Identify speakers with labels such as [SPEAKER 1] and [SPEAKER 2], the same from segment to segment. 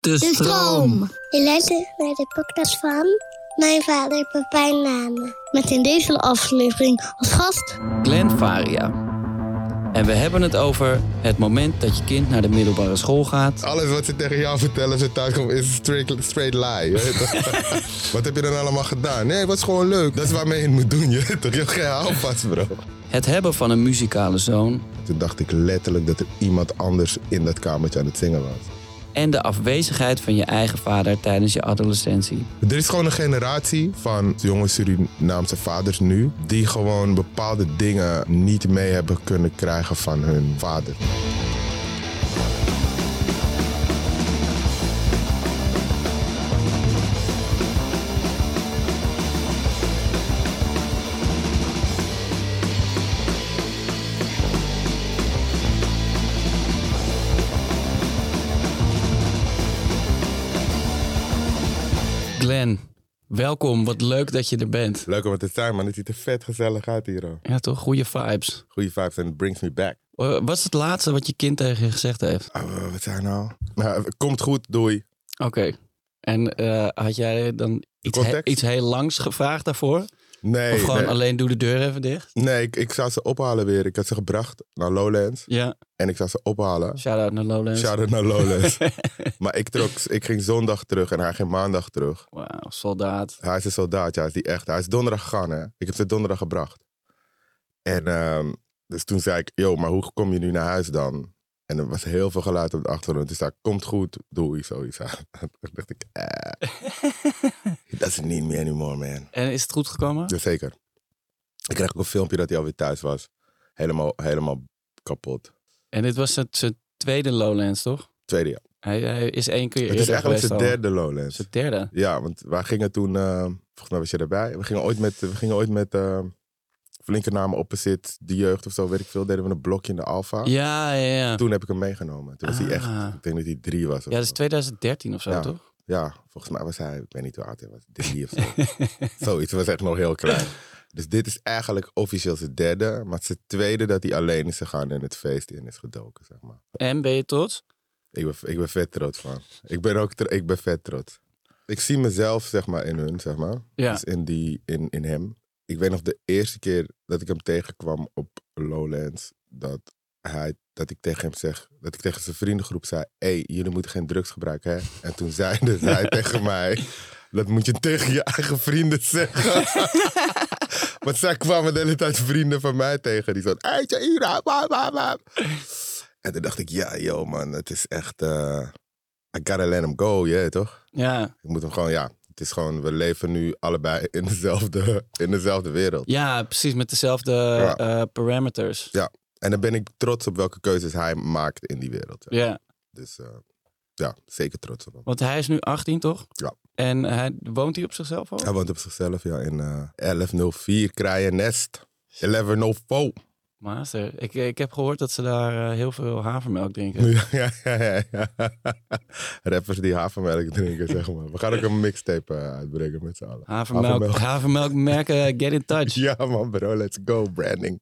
[SPEAKER 1] De
[SPEAKER 2] Je luistert naar de podcast van mijn vader Pepijn Nane. Met in deze aflevering als gast...
[SPEAKER 1] Glenn Faria. En we hebben het over het moment dat je kind naar de middelbare school gaat.
[SPEAKER 3] Alles wat ze tegen jou vertellen als je thuis komt is straight, straight lie. weet je toch? wat heb je dan allemaal gedaan? Nee, het was gewoon leuk. Dat is waarmee je het moet doen. Je, weet toch? je hebt geen houvast, bro.
[SPEAKER 1] Het hebben van een muzikale zoon.
[SPEAKER 3] Toen dacht ik letterlijk dat er iemand anders in dat kamertje aan het zingen was.
[SPEAKER 1] En de afwezigheid van je eigen vader tijdens je adolescentie.
[SPEAKER 3] Er is gewoon een generatie van jonge Surinaamse vaders nu... die gewoon bepaalde dingen niet mee hebben kunnen krijgen van hun vader.
[SPEAKER 1] Glenn, welkom. Wat leuk dat je er bent.
[SPEAKER 3] Leuk om het te zijn, man. Het ziet er vet gezellig uit hier, hoor.
[SPEAKER 1] Ja, toch? Goede vibes.
[SPEAKER 3] Goeie vibes en it brings me back.
[SPEAKER 1] Eh, Wat is het laatste wat je kind tegen je gezegd heeft?
[SPEAKER 3] Ah, wat zijn nou? Nou, komt goed, doei.
[SPEAKER 1] Oké. En eh, had jij dan iets,
[SPEAKER 3] De
[SPEAKER 1] he-
[SPEAKER 3] context?
[SPEAKER 1] iets heel langs gevraagd daarvoor?
[SPEAKER 3] Nee,
[SPEAKER 1] of gewoon
[SPEAKER 3] nee.
[SPEAKER 1] alleen doe de deur even dicht?
[SPEAKER 3] Nee, ik, ik zou ze ophalen weer. Ik had ze gebracht naar Lowlands.
[SPEAKER 1] Ja,
[SPEAKER 3] En ik zou ze ophalen.
[SPEAKER 1] shout-out naar Lowlands.
[SPEAKER 3] Shout out naar Lowlands. maar ik, trok, ik ging zondag terug en hij ging maandag terug.
[SPEAKER 1] Wauw, soldaat.
[SPEAKER 3] Hij is een soldaat, ja, is die echt. Hij is donderdag gegaan, hè. Ik heb ze donderdag gebracht. En ehm, dus toen zei ik, yo, maar hoe kom je nu naar huis dan? En er was heel veel geluid op de achtergrond. Dus daar komt goed, doei, zoiets. Toen dacht ik, eh, he doesn't need me anymore, man.
[SPEAKER 1] En is het goed gekomen?
[SPEAKER 3] Jazeker. Ik kreeg ook een filmpje dat hij alweer thuis was. Helemaal, helemaal kapot.
[SPEAKER 1] En dit was het, zijn tweede Lowlands, toch?
[SPEAKER 3] Tweede jaar.
[SPEAKER 1] Hij, hij is één keer
[SPEAKER 3] Het is
[SPEAKER 1] eerder
[SPEAKER 3] eigenlijk
[SPEAKER 1] geweest
[SPEAKER 3] zijn
[SPEAKER 1] al.
[SPEAKER 3] derde Lowlands.
[SPEAKER 1] Zijn derde.
[SPEAKER 3] Ja, want wij gingen toen, eh, volgens mij was je erbij. We gingen ooit met, we gingen ooit met eh, flinke namen opposite, de jeugd of zo, weet ik veel. Deden we een blokje in de Alfa.
[SPEAKER 1] Ja, ja, ja.
[SPEAKER 3] Toen heb ik hem meegenomen. Toen was hij echt,
[SPEAKER 1] Ah.
[SPEAKER 3] ik denk dat hij drie was. Of
[SPEAKER 1] Ja, dat is
[SPEAKER 3] zo.
[SPEAKER 1] 2013 of zo,
[SPEAKER 3] Ja.
[SPEAKER 1] toch?
[SPEAKER 3] ja, volgens mij was hij, ik weet niet hoe oud hij was, drie of zo. Zoiets, hij was echt nog heel klein. Dus dit is eigenlijk officieel zijn derde, maar het is het tweede dat hij alleen is gegaan en het feest in is gedoken, zeg maar.
[SPEAKER 1] en ben je trots?
[SPEAKER 3] Ik ben, ik ben vet trots, man. Ik ben ook tr- ik ben vet trots. Ik zie mezelf, zeg maar, in hun, zeg maar.
[SPEAKER 1] Ja.
[SPEAKER 3] Dus in, die, in, in hem. Ik weet nog de eerste keer dat ik hem tegenkwam op Lowlands, dat, hij, dat ik tegen hem zeg, dat ik tegen zijn vriendengroep zei, hé, hey, jullie moeten geen drugs gebruiken, hè? En toen zeiden zij tegen mij, dat moet je tegen je eigen vrienden zeggen. Want zij kwamen de hele tijd vrienden van mij tegen, die zo'n, eitje, Ira, bam, bam, bam. En toen dacht ik, ja, yo man, het is echt, eh, I gotta let him go, je weet toch?
[SPEAKER 1] Ja.
[SPEAKER 3] Ik moet hem gewoon, ja. Het is gewoon, we leven nu allebei in dezelfde, in dezelfde wereld.
[SPEAKER 1] ja, precies. Met dezelfde
[SPEAKER 3] Ja.
[SPEAKER 1] eh, parameters.
[SPEAKER 3] En dan ben ik trots op welke keuzes hij maakt in die wereld.
[SPEAKER 1] Ja.
[SPEAKER 3] Dus eh, ja, zeker trots op hem.
[SPEAKER 1] Want hij is nu 18, toch?
[SPEAKER 3] Ja.
[SPEAKER 1] En hij, woont hij op zichzelf al?
[SPEAKER 3] Hij woont op zichzelf, ja, in eh 1104 Kraaiennest. 1104.
[SPEAKER 1] Master. Ik, ik heb gehoord dat ze daar eh, heel veel havermelk drinken.
[SPEAKER 3] Ja, ja, ja, ja. Rappers die havermelk drinken, zeg maar. We gaan ook een mixtape eh, uitbrengen met z'n allen.
[SPEAKER 1] Havermelk, havermelk merken, get in touch.
[SPEAKER 3] Ja man bro, let's go, branding.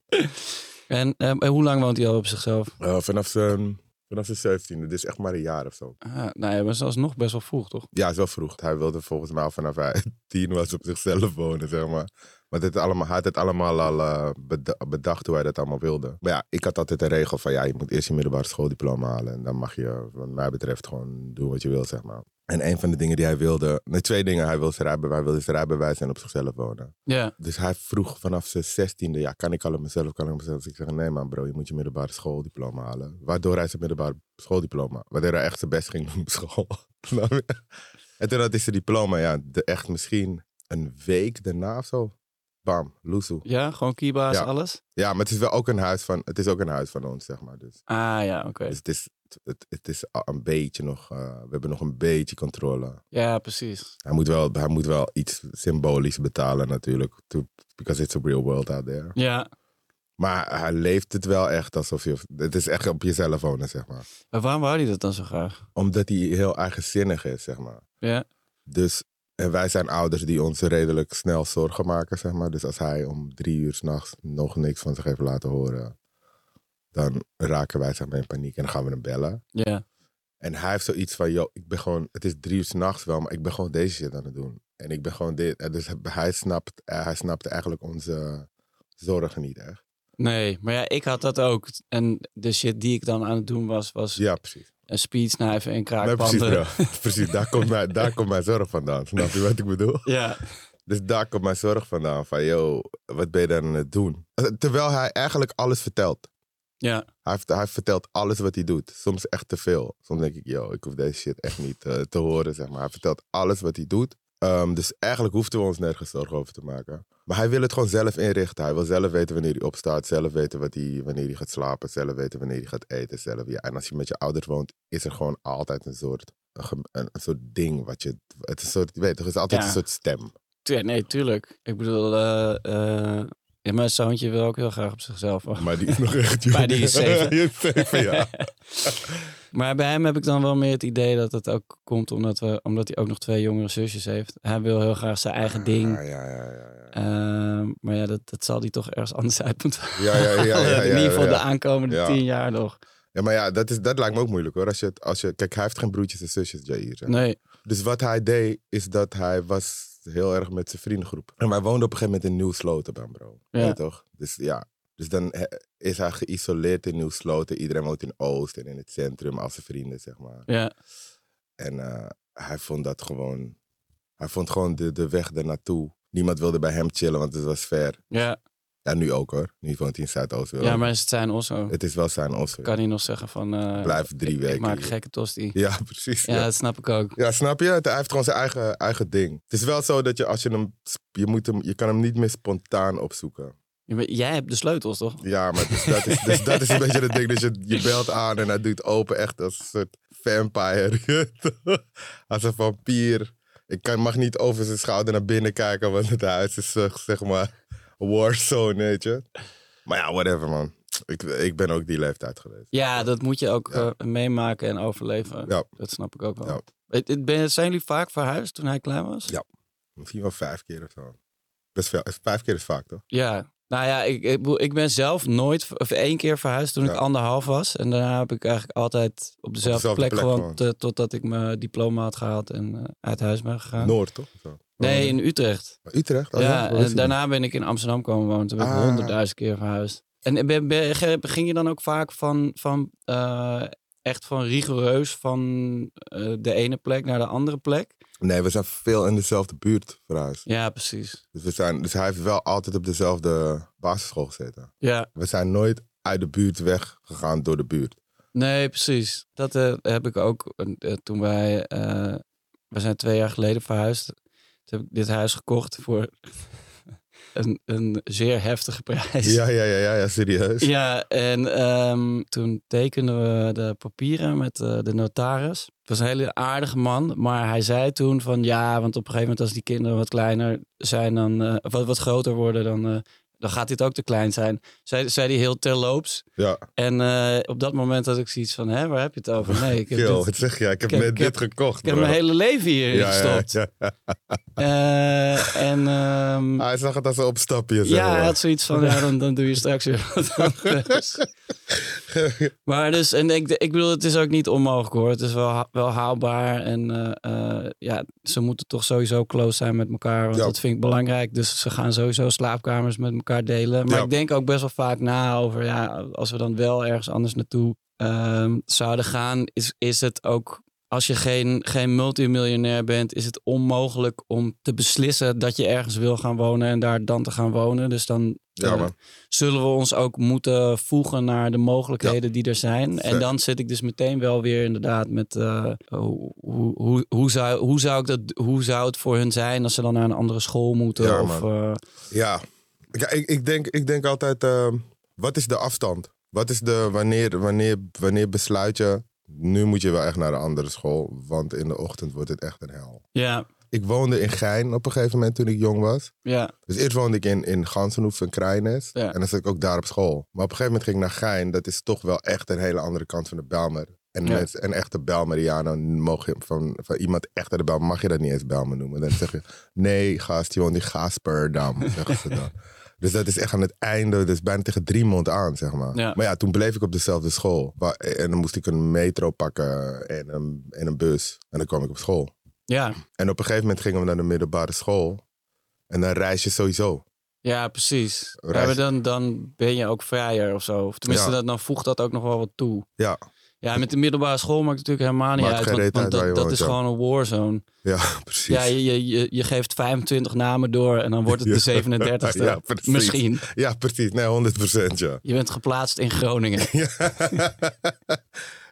[SPEAKER 1] En eh, hoe lang woont hij al op zichzelf?
[SPEAKER 3] Eh, vanaf zijn vanaf zijn 17e, dus echt maar een jaar of zo.
[SPEAKER 1] Ah, nou ja, maar dat is nog best wel vroeg, toch?
[SPEAKER 3] Ja, is wel vroeg. Hij wilde volgens mij al vanaf hij tien was op zichzelf wonen, zeg maar. Maar dit allemaal, hij had het allemaal al eh, beda- bedacht hoe hij dat allemaal wilde. Maar ja, ik had altijd een regel van ja, je moet eerst je middelbare schooldiploma halen. En dan mag je, wat mij betreft, gewoon doen wat je wil, zeg maar. En een van de dingen die hij wilde, nee, twee dingen. Hij wilde zijn rijbewijs, hij wilde zijn rijbewijs en op zichzelf wonen.
[SPEAKER 1] Ja.
[SPEAKER 3] Dus hij vroeg vanaf zijn zestiende, ja, kan ik al op mezelf, kan ik op mezelf? Dus ik zeg, nee man bro, je moet je middelbare schooldiploma halen. Waardoor hij zijn middelbare schooldiploma, waardoor hij echt zijn best ging doen op school. Snap je? en toen had hij zijn diploma, ja, de, echt misschien een week daarna of zo. Bam, loesoe.
[SPEAKER 1] Ja, gewoon keybaas,
[SPEAKER 3] Ja.
[SPEAKER 1] alles?
[SPEAKER 3] Ja, maar het is wel ook een huis van, het is ook een huis van ons, zeg maar. Dus,
[SPEAKER 1] Ah ja, oké.
[SPEAKER 3] dus het is, het, het is al een beetje nog, eh, we hebben nog een beetje controle.
[SPEAKER 1] Ja, precies.
[SPEAKER 3] Hij moet wel, hij moet wel iets symbolisch betalen natuurlijk, to- because it's a real world out there.
[SPEAKER 1] Ja.
[SPEAKER 3] Maar hij leeft het wel echt alsof je... Het is echt op jezelf wonen, zeg maar.
[SPEAKER 1] Maar waarom wou hij dat dan zo graag?
[SPEAKER 3] Omdat hij heel eigenzinnig is, zeg maar.
[SPEAKER 1] Ja.
[SPEAKER 3] Dus... En wij zijn ouders die ons redelijk snel zorgen maken, zeg maar. Dus als hij om drie uur s'nachts nog niks van zich heeft laten horen... dan raken wij, zeg maar, in paniek en dan gaan we hem bellen.
[SPEAKER 1] Ja.
[SPEAKER 3] En hij heeft zoiets van, yo, ik ben gewoon, het is drie uur s'nachts wel, maar ik ben gewoon deze shit aan het doen. En ik ben gewoon dit. En dus hij snapt, eh, hij snapt eigenlijk onze zorgen niet echt.
[SPEAKER 1] Nee, maar ja, ik had dat ook. En de shit die ik dan aan het doen was, was
[SPEAKER 3] Ja, precies.
[SPEAKER 1] een speedsnijven en
[SPEAKER 3] Nee, precies,
[SPEAKER 1] kraakpanden.
[SPEAKER 3] bro. precies, daar komt, mijn, daar komt mijn zorg vandaan. Snap je wat ik bedoel?
[SPEAKER 1] ja,
[SPEAKER 3] Dus daar komt mijn zorg vandaan. Van, yo, wat ben je dan aan het doen? Terwijl hij eigenlijk alles vertelt.
[SPEAKER 1] ja.
[SPEAKER 3] Hij, heeft- hij vertelt alles wat hij doet. Soms echt te veel. Soms denk ik, yo, ik hoef deze shit echt niet eh, te horen, zeg maar. Hij vertelt alles wat hij doet. Ehm, dus eigenlijk hoefden we ons nergens zorgen over te maken. Maar hij wil het gewoon zelf inrichten. Hij wil zelf weten wanneer hij opstaat. Zelf weten wat hij, wanneer hij gaat slapen. Zelf weten wanneer hij gaat eten. Zelf, ja. En als je met je ouders woont, is er gewoon altijd een soort, een, gem- een, een soort ding. Wat je, het is een soort, je weet toch, het is altijd
[SPEAKER 1] Ja.
[SPEAKER 3] een soort stem.
[SPEAKER 1] Tu- nee, tuurlijk. Ik bedoel, eh, eh, ja, mijn zoontje wil ook heel graag op zichzelf. wachten.
[SPEAKER 3] Maar die is nog echt jong.
[SPEAKER 1] Maar die is zeven.
[SPEAKER 3] Die is zeven, ja.
[SPEAKER 1] maar bij hem heb ik dan wel meer het idee dat het ook komt omdat, we, omdat hij ook nog twee jongere zusjes heeft. Hij wil heel graag zijn eigen ding.
[SPEAKER 3] Ja, ja, ja, ja, ja.
[SPEAKER 1] Ehm, maar ja, dat, dat zal hij toch ergens anders uit moeten
[SPEAKER 3] Ja, ja, ja, ja,
[SPEAKER 1] halen.
[SPEAKER 3] ja,
[SPEAKER 1] In ieder geval
[SPEAKER 3] ja.
[SPEAKER 1] de aankomende
[SPEAKER 3] Ja.
[SPEAKER 1] tien jaar nog.
[SPEAKER 3] Ja, maar ja, dat, is, dat lijkt me ook moeilijk hoor. Als je, het- als je, kijk, hij heeft geen broertjes en zusjes, Jair. hè.
[SPEAKER 1] Nee,
[SPEAKER 3] Dus wat hij deed, is dat hij was heel erg met zijn vriendengroep. En hij woonde op een gegeven moment in Nieuw-Sloten, man, bro.
[SPEAKER 1] Ja.
[SPEAKER 3] Ja. toch? Dus ja. Dus dan eh, is hij geïsoleerd in Nieuw-Sloten. Iedereen woont in Oost en in het centrum, als zijn vrienden, zeg maar.
[SPEAKER 1] ja.
[SPEAKER 3] En eh, hij vond dat gewoon... Hij vond gewoon de, de weg ernaartoe. Niemand wilde bij hem chillen, want het was ver.
[SPEAKER 1] Ja,
[SPEAKER 3] Ja, nu ook hoor. Nu woont hij in Zuidoost.
[SPEAKER 1] ja maar is het zijn also.
[SPEAKER 3] Het is wel zijn osso.
[SPEAKER 1] Kan hij nog zeggen van... eh,
[SPEAKER 3] Blijf drie
[SPEAKER 1] ik,
[SPEAKER 3] weken
[SPEAKER 1] Ik maak
[SPEAKER 3] hier.
[SPEAKER 1] gekke tosti.
[SPEAKER 3] Ja, precies.
[SPEAKER 1] Ja,
[SPEAKER 3] ja.
[SPEAKER 1] dat snap ik ook.
[SPEAKER 3] Ja, snap je? Hij heeft gewoon zijn eigen, eigen ding. Het is wel zo dat je als je hem, je moet hem, je kan hem niet meer spontaan opzoeken.
[SPEAKER 1] Ja, maar Jij hebt de sleutels, toch?
[SPEAKER 3] Ja, maar dus dat, is, dus dat is een beetje het ding. Dus je, je belt aan en hij doet open echt als een soort vampire. je weet toch? als een vampier. Ik kan, mag niet over zijn schouder naar binnen kijken, want het huis is eh, zeg maar warzone, weet je. Maar ja, whatever man. Ik, ik ben ook die leeftijd geweest.
[SPEAKER 1] Ja, dat moet je ook
[SPEAKER 3] Ja.
[SPEAKER 1] eh, meemaken en overleven.
[SPEAKER 3] Ja.
[SPEAKER 1] Dat snap ik ook wel.
[SPEAKER 3] Ja.
[SPEAKER 1] Het- het- ben- zijn jullie vaak verhuisd toen hij klein was?
[SPEAKER 3] Ja. Misschien wel vijf keer of zo. Best veel. eh, Vijf keer is vaak toch?
[SPEAKER 1] Ja. Nou ja, ik, ik, bedoel, ik ben zelf nooit, ver- of één keer verhuisd toen
[SPEAKER 3] Ja.
[SPEAKER 1] ik anderhalf was. En daarna heb ik eigenlijk altijd op dezelfde,
[SPEAKER 3] dezelfde
[SPEAKER 1] plek,
[SPEAKER 3] plek
[SPEAKER 1] gewoond.
[SPEAKER 3] gewoond.
[SPEAKER 1] eh, totdat ik mijn diploma had gehaald en eh, uit huis ben gegaan.
[SPEAKER 3] Noord toch? Zo.
[SPEAKER 1] nee, in Utrecht.
[SPEAKER 3] Utrecht? Oh,
[SPEAKER 1] ja,
[SPEAKER 3] Waar is
[SPEAKER 1] en
[SPEAKER 3] die?
[SPEAKER 1] daarna ben ik in Amsterdam komen wonen. Toen ben ik
[SPEAKER 3] Ah.
[SPEAKER 1] honderdduizend keer verhuisd. En eh, ben, ben- ge- ging je dan ook vaak van, van eh, echt van rigoureus van eh, de ene plek naar de andere plek?
[SPEAKER 3] Nee, we zijn veel in dezelfde buurt verhuisd.
[SPEAKER 1] Ja, precies.
[SPEAKER 3] Dus, we zijn, dus hij heeft wel altijd op dezelfde basisschool gezeten.
[SPEAKER 1] Ja,
[SPEAKER 3] We zijn nooit uit de buurt weggegaan door de buurt.
[SPEAKER 1] nee, precies. Dat eh, heb ik ook eh, toen wij, eh, we zijn twee jaar geleden verhuisd. Toen heb ik dit huis gekocht voor een, een zeer heftige prijs.
[SPEAKER 3] Ja, ja, ja, ja, ja serieus.
[SPEAKER 1] Ja, en ehm, toen tekenden we de papieren met eh, de notaris. Het was een hele aardige man, maar hij zei toen van ja, want op een gegeven moment als die kinderen wat kleiner zijn dan, eh, wat, wat groter worden, dan, eh, dan gaat dit ook te klein zijn. Zei, zei hij heel terloops.
[SPEAKER 3] Ja,
[SPEAKER 1] En eh, op dat moment had ik zoiets van, hè, waar heb je het over? Nee, ik heb,
[SPEAKER 3] Yo,
[SPEAKER 1] dit-
[SPEAKER 3] wat zeg je? Ik heb
[SPEAKER 1] ik heb-
[SPEAKER 3] net
[SPEAKER 1] ik heb-
[SPEAKER 3] dit gekocht.
[SPEAKER 1] ik heb
[SPEAKER 3] bro.
[SPEAKER 1] mijn hele leven hierin
[SPEAKER 3] Ja, ja,
[SPEAKER 1] gestopt.
[SPEAKER 3] ja.
[SPEAKER 1] Eh, en ehm,
[SPEAKER 3] Hij zag het als een opstapje. Zeg
[SPEAKER 1] Ja,
[SPEAKER 3] maar.
[SPEAKER 1] hij had zoiets van, ja, dan, dan doe je straks weer wat anders. maar dus, en ik, ik bedoel, het is ook niet onmogelijk hoor. Het is wel, ha- wel haalbaar. En eh, eh, ja, ze moeten toch sowieso close zijn met elkaar. Want
[SPEAKER 3] Ja.
[SPEAKER 1] dat vind ik belangrijk. Dus ze gaan sowieso slaapkamers met elkaar delen. Maar
[SPEAKER 3] Ja.
[SPEAKER 1] ik denk ook best wel vaak na over, ja, als we dan wel ergens anders naartoe ehm, zouden gaan, is, is het ook... Als je geen, geen multimiljonair bent, is het onmogelijk om te beslissen dat je ergens wil gaan wonen en daar dan te gaan wonen. Dus dan
[SPEAKER 3] Ja,
[SPEAKER 1] eh,
[SPEAKER 3] man.
[SPEAKER 1] zullen we ons ook moeten voegen naar de mogelijkheden die er zijn. En
[SPEAKER 3] Fair.
[SPEAKER 1] dan zit ik dus meteen wel weer inderdaad met eh, hoe, hoe, hoe, hoe zou, hoe, zou ik dat, hoe zou het voor hun zijn als ze dan naar een andere school moeten?
[SPEAKER 3] Ja,
[SPEAKER 1] of, eh,
[SPEAKER 3] Ja, ja ik, ik, denk, ik denk altijd, ehm, wat is de afstand? Wat is de, wanneer, wanneer, wanneer besluit je, nu moet je wel echt naar een andere school, want in de ochtend wordt het echt een hel.
[SPEAKER 1] ja,
[SPEAKER 3] Ik woonde in Gein op een gegeven moment toen ik jong was.
[SPEAKER 1] ja,
[SPEAKER 3] Dus eerst woonde ik in, in Gansenhoef en Krijnes.
[SPEAKER 1] Ja.
[SPEAKER 3] En dan zat ik ook daar op school. Maar op een gegeven moment ging ik naar Gein. Dat is toch wel echt een hele andere kant van de Belmer. En
[SPEAKER 1] Ja.
[SPEAKER 3] mensen, een echte Belmeriano, mogen van, van iemand echt uit de Belmer, mag je dat niet eens Belmer noemen. Dan zeg je, nee gast, je woont in Gasperdam, zeggen ze dan. Dus dat is echt aan het einde, dus bijna tegen drie maanden aan, zeg maar.
[SPEAKER 1] Ja.
[SPEAKER 3] Maar ja, toen bleef ik op dezelfde school. Wa- En dan moest ik een metro pakken en een, en een bus. En dan kwam ik op school.
[SPEAKER 1] Ja,
[SPEAKER 3] En op een gegeven moment gingen we naar de middelbare school. En dan reis je sowieso.
[SPEAKER 1] ja precies. Ja,
[SPEAKER 3] Reis-
[SPEAKER 1] maar dan, dan ben je ook vrijer of zo. Of tenminste,
[SPEAKER 3] Ja.
[SPEAKER 1] dat, dan voegt dat ook nog wel wat toe.
[SPEAKER 3] Ja,
[SPEAKER 1] Ja, met de middelbare school maakt het natuurlijk helemaal niet
[SPEAKER 3] Maakt
[SPEAKER 1] uit.
[SPEAKER 3] geen
[SPEAKER 1] Want,
[SPEAKER 3] reet
[SPEAKER 1] want
[SPEAKER 3] uit
[SPEAKER 1] dat,
[SPEAKER 3] waar je
[SPEAKER 1] dat
[SPEAKER 3] woont,
[SPEAKER 1] is
[SPEAKER 3] ja.
[SPEAKER 1] gewoon een warzone.
[SPEAKER 3] ja, precies.
[SPEAKER 1] Ja, je, je, je, je geeft 25 namen door en dan wordt het de
[SPEAKER 3] Ja.
[SPEAKER 1] 37ste.
[SPEAKER 3] Ja, precies.
[SPEAKER 1] Misschien.
[SPEAKER 3] Ja, precies. Nee, 100 procent, ja.
[SPEAKER 1] Je bent geplaatst in Groningen.
[SPEAKER 3] Ja.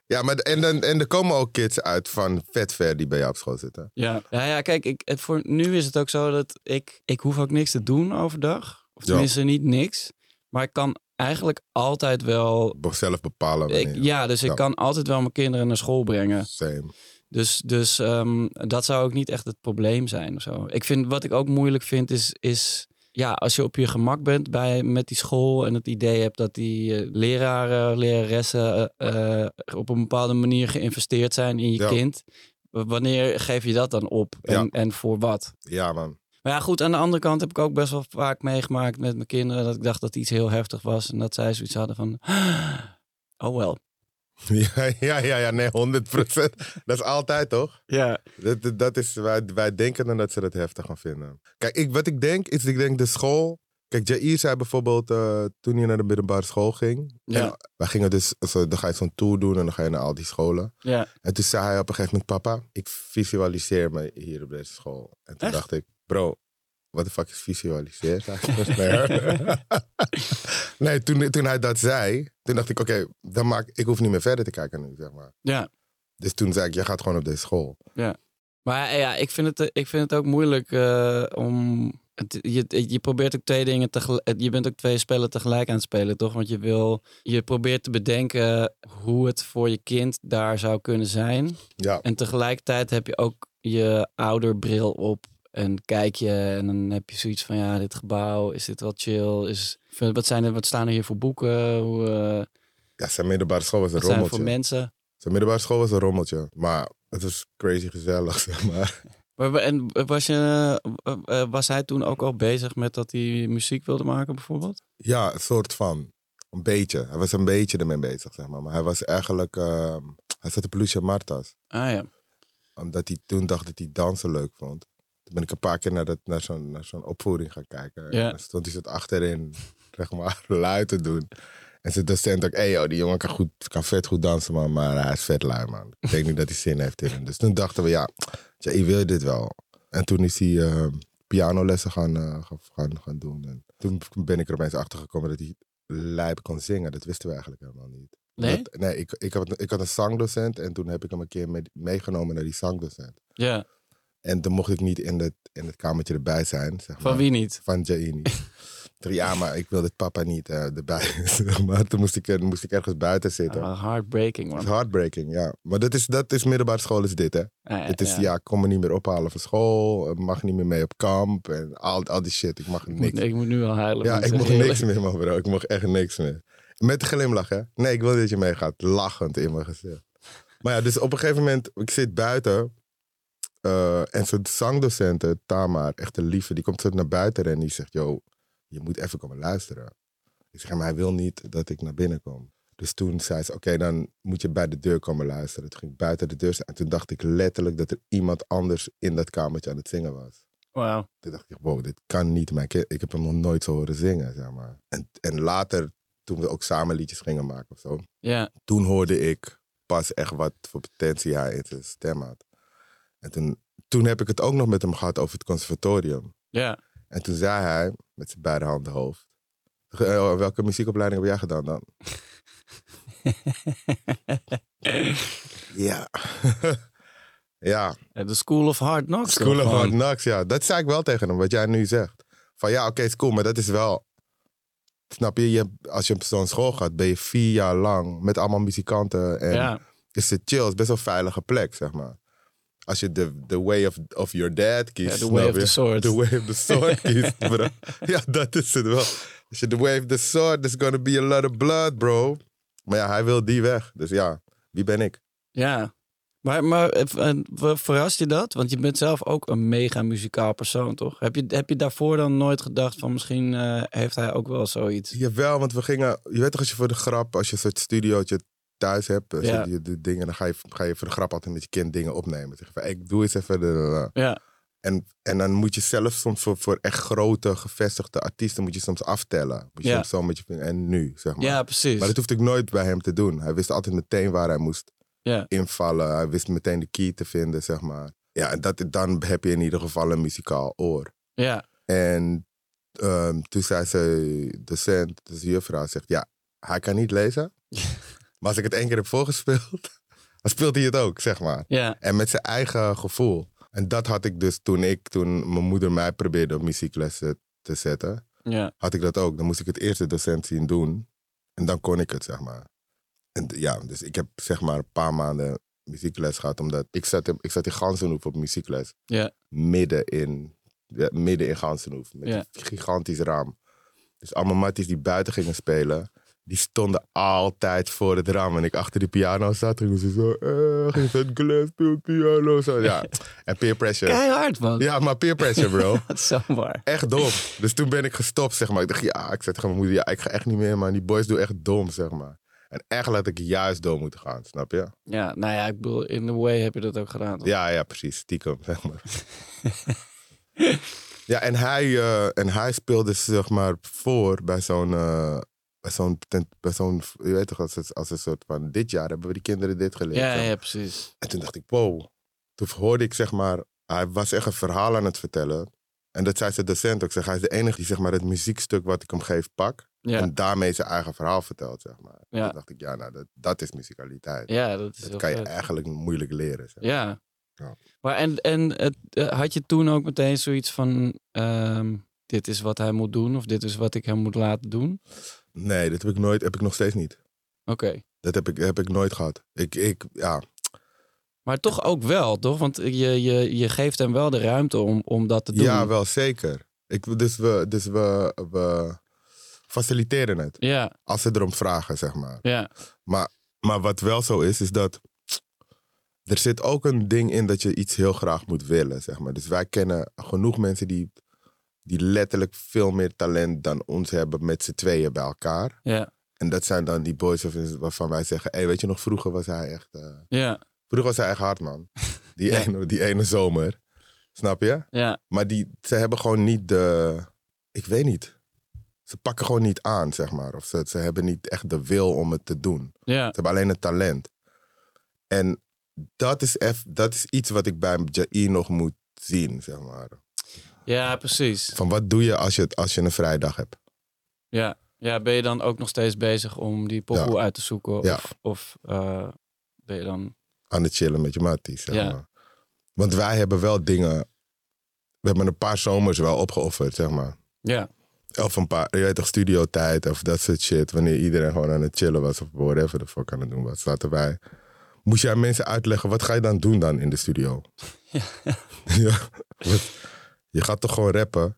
[SPEAKER 3] ja, maar de- en, dan, en er komen ook kids uit van vet ver die bij jou op school zitten.
[SPEAKER 1] Ja, ja, ja kijk, ik, het voor nu is het ook zo dat ik, ik hoef ook niks te doen overdag. Of
[SPEAKER 3] Ja.
[SPEAKER 1] tenminste niet niks. Maar ik kan eigenlijk altijd wel...
[SPEAKER 3] Be- Zelf bepalen
[SPEAKER 1] Ik,
[SPEAKER 3] wanneer.
[SPEAKER 1] ja, dus ik
[SPEAKER 3] Ja.
[SPEAKER 1] kan altijd wel mijn kinderen naar school brengen.
[SPEAKER 3] Same.
[SPEAKER 1] Dus, dus ehm, dat zou ook niet echt het probleem zijn of zo. Ik vind, wat ik ook moeilijk vind is... is ja, als je op je gemak bent bij, met die school en het idee hebt dat die eh, leraren, leraressen eh, eh, op een bepaalde manier geïnvesteerd zijn in je
[SPEAKER 3] Ja.
[SPEAKER 1] kind. w- Wanneer geef je dat dan op en,
[SPEAKER 3] Ja.
[SPEAKER 1] en voor wat?
[SPEAKER 3] Ja, man.
[SPEAKER 1] Maar ja, goed, aan de andere kant heb ik ook best wel vaak meegemaakt met mijn kinderen dat ik dacht dat iets heel heftig was en dat zij zoiets hadden van, oh wel.
[SPEAKER 3] Ja, ja, ja, ja, nee, 100 Dat is altijd, toch?
[SPEAKER 1] Ja.
[SPEAKER 3] Dat, dat, dat is, wij, wij denken dan dat ze dat heftig gaan vinden. Kijk, ik, wat ik denk, is ik denk de school... Kijk, Jair zei bijvoorbeeld eh, toen hij naar de middelbare school ging.
[SPEAKER 1] Ja.
[SPEAKER 3] en Wij gingen dus, zo, dan ga je zo'n tour doen en dan ga je naar al die scholen.
[SPEAKER 1] Ja.
[SPEAKER 3] En toen zei hij op een gegeven moment, papa, ik visualiseer me hier op deze school. En toen
[SPEAKER 1] Echt?
[SPEAKER 3] dacht ik, bro, wat de fuck is visualiseer? nee, nee toen, toen hij dat zei, toen dacht ik, oké, dan maak ik hoef niet meer verder te kijken nu, zeg maar.
[SPEAKER 1] Ja.
[SPEAKER 3] Dus toen zei ik, jij gaat gewoon op deze school.
[SPEAKER 1] Maar eh, ja, ik vind het, ik vind het ook moeilijk eh, om. Het, je, je probeert ook twee dingen tegelijk. Je bent ook twee spellen tegelijk aan het spelen, toch? Want je wil. Je probeert te bedenken hoe het voor je kind daar zou kunnen zijn.
[SPEAKER 3] Ja,
[SPEAKER 1] En tegelijkertijd heb je ook je ouderbril op. En kijk je en dan heb je zoiets van ja, dit gebouw, is dit wel chill? Is, wat, zijn er, wat staan er hier voor boeken? Hoe, eh,
[SPEAKER 3] ja zijn middelbare school was een
[SPEAKER 1] wat zijn er
[SPEAKER 3] rommeltje.
[SPEAKER 1] voor mensen?
[SPEAKER 3] Zijn middelbare school was een rommeltje. Maar het was crazy gezellig, zeg maar.
[SPEAKER 1] Maar, wa- en was, je, eh, eh, was hij toen ook al bezig met dat hij muziek wilde maken bijvoorbeeld?
[SPEAKER 3] Ja, een soort van. Een beetje. Hij was een beetje ermee bezig, zeg maar. Maar hij was eigenlijk... ehm, hij zat op Lucia Martas.
[SPEAKER 1] Ah ja.
[SPEAKER 3] Omdat hij toen dacht dat hij dansen leuk vond. Toen ben ik een paar keer naar, dat, naar zo'n naar zo'n opvoering gaan kijken.
[SPEAKER 1] Ja.
[SPEAKER 3] En dan stond hij zo achterin, zeg maar, lui te doen. En zijn docent ook, hey, joh, die jongen kan, goed, kan vet goed dansen, man, maar hij is vet lui, man. Ik denk niet dat hij zin heeft in hem. Dus toen dachten we, ja, tja, ik wil dit wel. En toen is hij eh, pianolessen gaan, eh, gaan, gaan, gaan doen. En toen ben ik er opeens achter gekomen dat hij lijp kon zingen. Dat wisten we eigenlijk helemaal niet.
[SPEAKER 1] Nee?
[SPEAKER 3] Dat- nee, ik, ik, had, ik had een zangdocent en toen heb ik hem een keer mee- meegenomen naar die zangdocent.
[SPEAKER 1] Ja,
[SPEAKER 3] En toen mocht ik niet in het, in het kamertje erbij zijn. Zeg
[SPEAKER 1] van
[SPEAKER 3] maar.
[SPEAKER 1] wie niet?
[SPEAKER 3] Van E Jaini. ja, maar ik wilde papa niet eh, erbij. zeg maar toen moest ik, er- moest ik ergens buiten zitten.
[SPEAKER 1] Ah, heartbreaking
[SPEAKER 3] Het
[SPEAKER 1] man.
[SPEAKER 3] is heartbreaking, ja. Maar dat is, dat is middelbare school is dit, hè.
[SPEAKER 1] Ah, ja,
[SPEAKER 3] het is, ja.
[SPEAKER 1] ja.
[SPEAKER 3] ik kom me niet meer ophalen van school. Ik mag niet meer mee op kamp. En al, al die shit. Ik mag
[SPEAKER 1] Ik moet,
[SPEAKER 3] niks.
[SPEAKER 1] ik moet nu al huilen.
[SPEAKER 3] Ja,
[SPEAKER 1] moet
[SPEAKER 3] ik mocht
[SPEAKER 1] zeggen.
[SPEAKER 3] niks meer, man, bro. Ik mocht echt niks meer. Met glimlach, hè? Nee, ik wil dat je meegaat. Lachend in mijn gezicht. Maar ja, dus op een gegeven moment, ik zit buiten. eh, en zo'n zangdocenten, Tamar, echt een lieve, die komt zo naar buiten en die zegt: Yo, je moet even komen luisteren. Ik zeg: Maar hij wil niet dat ik naar binnen kom. Dus toen zei ze: Oké, dan moet je bij de deur komen luisteren. Toen ging ik buiten de deur staan. En toen dacht ik letterlijk dat er iemand anders in dat kamertje aan het zingen was.
[SPEAKER 1] Wauw.
[SPEAKER 3] Toen dacht ik, wow, dit kan niet. Mijn kind, ik heb hem nog nooit zo horen zingen, zeg maar. En, en later, toen we ook samen liedjes gingen maken of zo.
[SPEAKER 1] Ja,
[SPEAKER 3] Toen hoorde ik pas echt wat voor potentie hij in zijn stem had. En toen, toen heb ik het ook nog met hem gehad over het conservatorium.
[SPEAKER 1] ja.
[SPEAKER 3] En toen zei hij, met zijn beide handen hoofd. "Eh, Welke muziekopleiding heb jij gedaan dan? Ja. ja,
[SPEAKER 1] De School of Hard Knocks.
[SPEAKER 3] School of
[SPEAKER 1] gewoon.
[SPEAKER 3] Hard Knocks, ja. Dat zei ik wel tegen hem, wat jij nu zegt. Van ja, oké, is cool, maar dat is wel... Snap je? je hebt- als je op zo'n school gaat, ben je vier jaar lang met allemaal muzikanten. En
[SPEAKER 1] Ja,
[SPEAKER 3] is het chill, is best wel een veilige plek, zeg maar. Als je de, de way of, of your dad kiest,
[SPEAKER 1] ja, The
[SPEAKER 3] snap
[SPEAKER 1] Way of
[SPEAKER 3] je?
[SPEAKER 1] the Sword.
[SPEAKER 3] The way of the sword kiest, bro. ja, dat is het wel. Als je the way of the sword, there's gonna be a lot of blood, bro. Maar ja, hij wil die weg. Dus ja, wie ben ik?
[SPEAKER 1] Ja. Maar, maar eh, en ver- verrast je dat? Want je bent zelf ook een mega muzikaal persoon, toch? Heb je, heb je daarvoor dan nooit gedacht van misschien eh, heeft hij ook wel zoiets?
[SPEAKER 3] Jawel, want we gingen... Je weet toch, als je voor de grap, als je een soort studiootje thuis hebt, als je
[SPEAKER 1] Ja.
[SPEAKER 3] die- die dingen, dan ga je, ga je voor de grap altijd met je kind dingen opnemen. Zeg van, ik doe eens even... De,
[SPEAKER 1] Ja,
[SPEAKER 3] En, en dan moet je zelf soms voor, voor echt grote, gevestigde artiesten moet je soms aftellen. Moet je
[SPEAKER 1] Ja.
[SPEAKER 3] soms zo met je vinger- en nu, zeg maar.
[SPEAKER 1] ja precies.
[SPEAKER 3] Maar dat hoefde ik nooit bij hem te doen. Hij wist altijd meteen waar hij moest
[SPEAKER 1] Ja.
[SPEAKER 3] invallen. Hij wist meteen de key te vinden, zeg maar. Ja, en dat, dan heb je in ieder geval een muzikaal oor.
[SPEAKER 1] Ja,
[SPEAKER 3] En ehm, toen zei ze, docent, dus de juffrouw, zegt... Ja, hij kan niet lezen. maar als ik het één keer heb voorgespeeld, dan speelt hij het ook, zeg maar.
[SPEAKER 1] ja,
[SPEAKER 3] En met zijn eigen gevoel. En dat had ik dus toen ik, toen mijn moeder mij probeerde op muzieklessen te zetten,
[SPEAKER 1] ja.
[SPEAKER 3] had ik dat ook. Dan moest ik het eerst de docent zien doen. En dan kon ik het, zeg maar. En d- ja, dus ik heb zeg maar een paar maanden muziekles gehad, omdat ik zat in, ik zat in Gansenhoef op muziekles.
[SPEAKER 1] Ja.
[SPEAKER 3] Midden in, ja, midden in Gansenhoef, met
[SPEAKER 1] Ja.
[SPEAKER 3] een gigantisch raam. Dus allemaal matties die buiten gingen spelen, die stonden altijd voor het raam. En ik achter de piano zat, gingen ze zo, eh, gingen ze Glenn speelt piano, zo. Ja, en peer pressure.
[SPEAKER 1] Keihard, man.
[SPEAKER 3] Ja, maar peer pressure, bro.
[SPEAKER 1] Dat is zo waar.
[SPEAKER 3] Echt dom. Dus toen ben ik gestopt, zeg maar. Ik dacht, ja, ik zei tegen mijn moeder, ja, ik ga echt niet meer, man. Die boys doen echt dom, zeg maar. En echt laat ik juist dom moeten gaan, snap je?
[SPEAKER 1] Ja, nou ja, ik bedoel, in the way heb je dat ook gedaan. toch?
[SPEAKER 3] Ja, ja, precies. Stiekem, zeg maar. ja, en hij, eh, en hij speelde, zeg maar, voor bij zo'n... eh, bij zo'n, tent- bij zo'n, je weet toch, als, een- als een soort van, dit jaar hebben we die kinderen dit geleerd.
[SPEAKER 1] ja,
[SPEAKER 3] zeg
[SPEAKER 1] ja, precies.
[SPEAKER 3] En toen dacht ik, wow. Toen hoorde ik, zeg maar, hij was echt een verhaal aan het vertellen. En dat zei zijn docent ook, zeg, hij is de enige die, zeg maar, het muziekstuk wat ik hem geef, pak.
[SPEAKER 1] Ja,
[SPEAKER 3] En daarmee zijn eigen verhaal vertelt, zeg maar.
[SPEAKER 1] Ja.
[SPEAKER 3] Toen dacht ik, ja, nou, dat, dat is muzikaliteit.
[SPEAKER 1] ja dat is heel
[SPEAKER 3] dat kan je
[SPEAKER 1] vet.
[SPEAKER 3] eigenlijk moeilijk leren. Zeg.
[SPEAKER 1] Ja.
[SPEAKER 3] Ja.
[SPEAKER 1] Maar en, en het, eh, had je toen ook meteen zoiets van: ehm, dit is wat hij moet doen, of dit is wat ik hem moet laten doen?
[SPEAKER 3] Nee, dat heb ik nooit, heb ik nog steeds niet.
[SPEAKER 1] Oké.
[SPEAKER 3] Dat heb ik, heb ik nooit gehad. Ik, ik, ja,
[SPEAKER 1] Maar toch ook wel, toch? Want je, je, je geeft hem wel de ruimte om, om dat te doen.
[SPEAKER 3] ja, wel zeker. Ik, dus we, dus we, we faciliteren het.
[SPEAKER 1] Ja,
[SPEAKER 3] Als ze erom vragen, zeg maar.
[SPEAKER 1] ja,
[SPEAKER 3] Maar wat wel zo is, is dat er zit ook een ding in dat je iets heel graag moet willen, zeg maar. Dus wij kennen genoeg mensen die, die letterlijk veel meer talent dan ons hebben met z'n tweeën bij elkaar.
[SPEAKER 1] ja,
[SPEAKER 3] En dat zijn dan die boys of- waarvan wij zeggen, hey, weet je nog, vroeger was hij echt, eh,
[SPEAKER 1] ja,
[SPEAKER 3] vroeger was hij echt hard, man. Die,
[SPEAKER 1] Ja.
[SPEAKER 3] ene, die ene zomer, snap je?
[SPEAKER 1] ja,
[SPEAKER 3] Maar die, ze hebben gewoon niet de. Ik weet niet. Ze pakken gewoon niet aan, zeg maar. Of ze, ze hebben niet echt de wil om het te doen.
[SPEAKER 1] ja,
[SPEAKER 3] Ze hebben alleen het talent. En dat is, eff, dat is iets wat ik bij Jair nog moet zien, zeg maar.
[SPEAKER 1] ja, precies.
[SPEAKER 3] Van wat doe je als je, het- als je een vrijdag hebt?
[SPEAKER 1] Ja. ja, ben je dan ook nog steeds bezig om die pokoe uit te zoeken?
[SPEAKER 3] Ja.
[SPEAKER 1] Of, of eh, ben je dan.
[SPEAKER 3] Aan het chillen met je matties, zeg
[SPEAKER 1] Ja.
[SPEAKER 3] maar. Want wij hebben wel dingen... We hebben een paar zomers wel opgeofferd, zeg maar.
[SPEAKER 1] Ja,
[SPEAKER 3] Of een paar, je weet toch, studiotijd of dat soort shit. Wanneer iedereen gewoon aan het chillen was of whatever de fuck aan het doen was. Laten wij... Moest je aan mensen uitleggen, wat ga je dan doen dan in de studio?
[SPEAKER 1] Ja.
[SPEAKER 3] ja want je gaat toch gewoon rappen?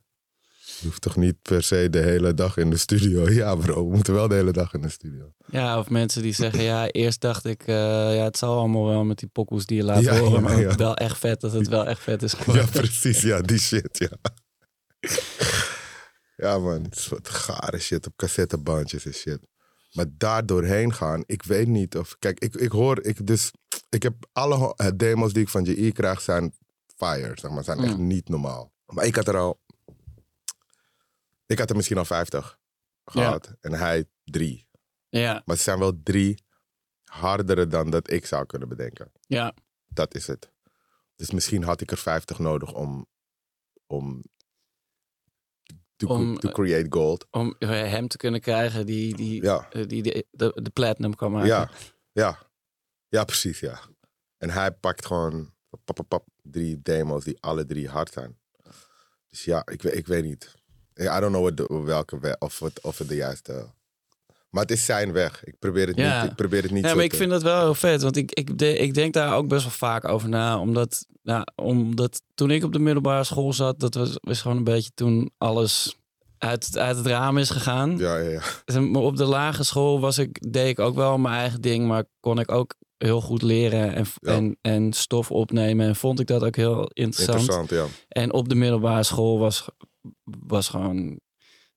[SPEAKER 3] Je hoeft toch niet per se de hele dag in de studio? Ja bro, we moeten wel de hele dag in de studio.
[SPEAKER 1] Ja, of mensen die zeggen, ja, eerst dacht ik, eh, ja, het zal allemaal wel met die pokoes die je laat
[SPEAKER 3] Ja,
[SPEAKER 1] horen,
[SPEAKER 3] ja,
[SPEAKER 1] maar
[SPEAKER 3] ja.
[SPEAKER 1] wel echt vet dat het wel echt vet is
[SPEAKER 3] Ja
[SPEAKER 1] geworden.
[SPEAKER 3] precies, ja die shit, ja. Ja man, het is wat gare shit op cassettebandjes en shit. Maar daar doorheen gaan, ik weet niet of... Kijk, ik, ik hoor, ik, dus, ik heb alle ho- eh, demos die ik van JE krijg zijn fire, zeg maar. Zijn echt
[SPEAKER 1] Mm.
[SPEAKER 3] niet normaal. Maar ik had er al... Ik had er misschien al 50 gehad. En hij drie.
[SPEAKER 1] Ja,
[SPEAKER 3] Maar ze zijn wel drie hardere dan dat ik zou kunnen bedenken.
[SPEAKER 1] ja,
[SPEAKER 3] Dat is het. Dus misschien had ik er 50 nodig om. om to,
[SPEAKER 1] Om, eh,
[SPEAKER 3] to create gold.
[SPEAKER 1] om hem te kunnen krijgen die, die,
[SPEAKER 3] Ja,
[SPEAKER 1] eh, die de, de, de platinum kan maken.
[SPEAKER 3] ja, ja. Ja, precies, ja. En hij pakt gewoon pap, pap, pap, drie demos die alle drie hard zijn. Dus ja, ik, weet- ik weet niet. I don't know what de- welke we- of, het, of het de juiste. Maar het is zijn weg. Ik probeer het
[SPEAKER 1] Ja.
[SPEAKER 3] niet. Ik probeer het niet
[SPEAKER 1] Ja,
[SPEAKER 3] zo
[SPEAKER 1] maar ik
[SPEAKER 3] te-
[SPEAKER 1] vind dat wel heel vet, want ik, ik, de- ik denk daar ook best wel vaak over na. Omdat, nou, omdat toen ik op de middelbare school zat, dat was, was gewoon een beetje toen alles uit, het- uit het raam is gegaan.
[SPEAKER 3] Ja, ja, ja.
[SPEAKER 1] Maar op de lage school was ik, deed ik ook wel mijn eigen ding, maar kon ik ook heel goed leren en,
[SPEAKER 3] Ja.
[SPEAKER 1] en, en stof opnemen. En vond ik dat ook heel interessant.
[SPEAKER 3] Interessant, ja.
[SPEAKER 1] En op de middelbare school was, was, gewoon,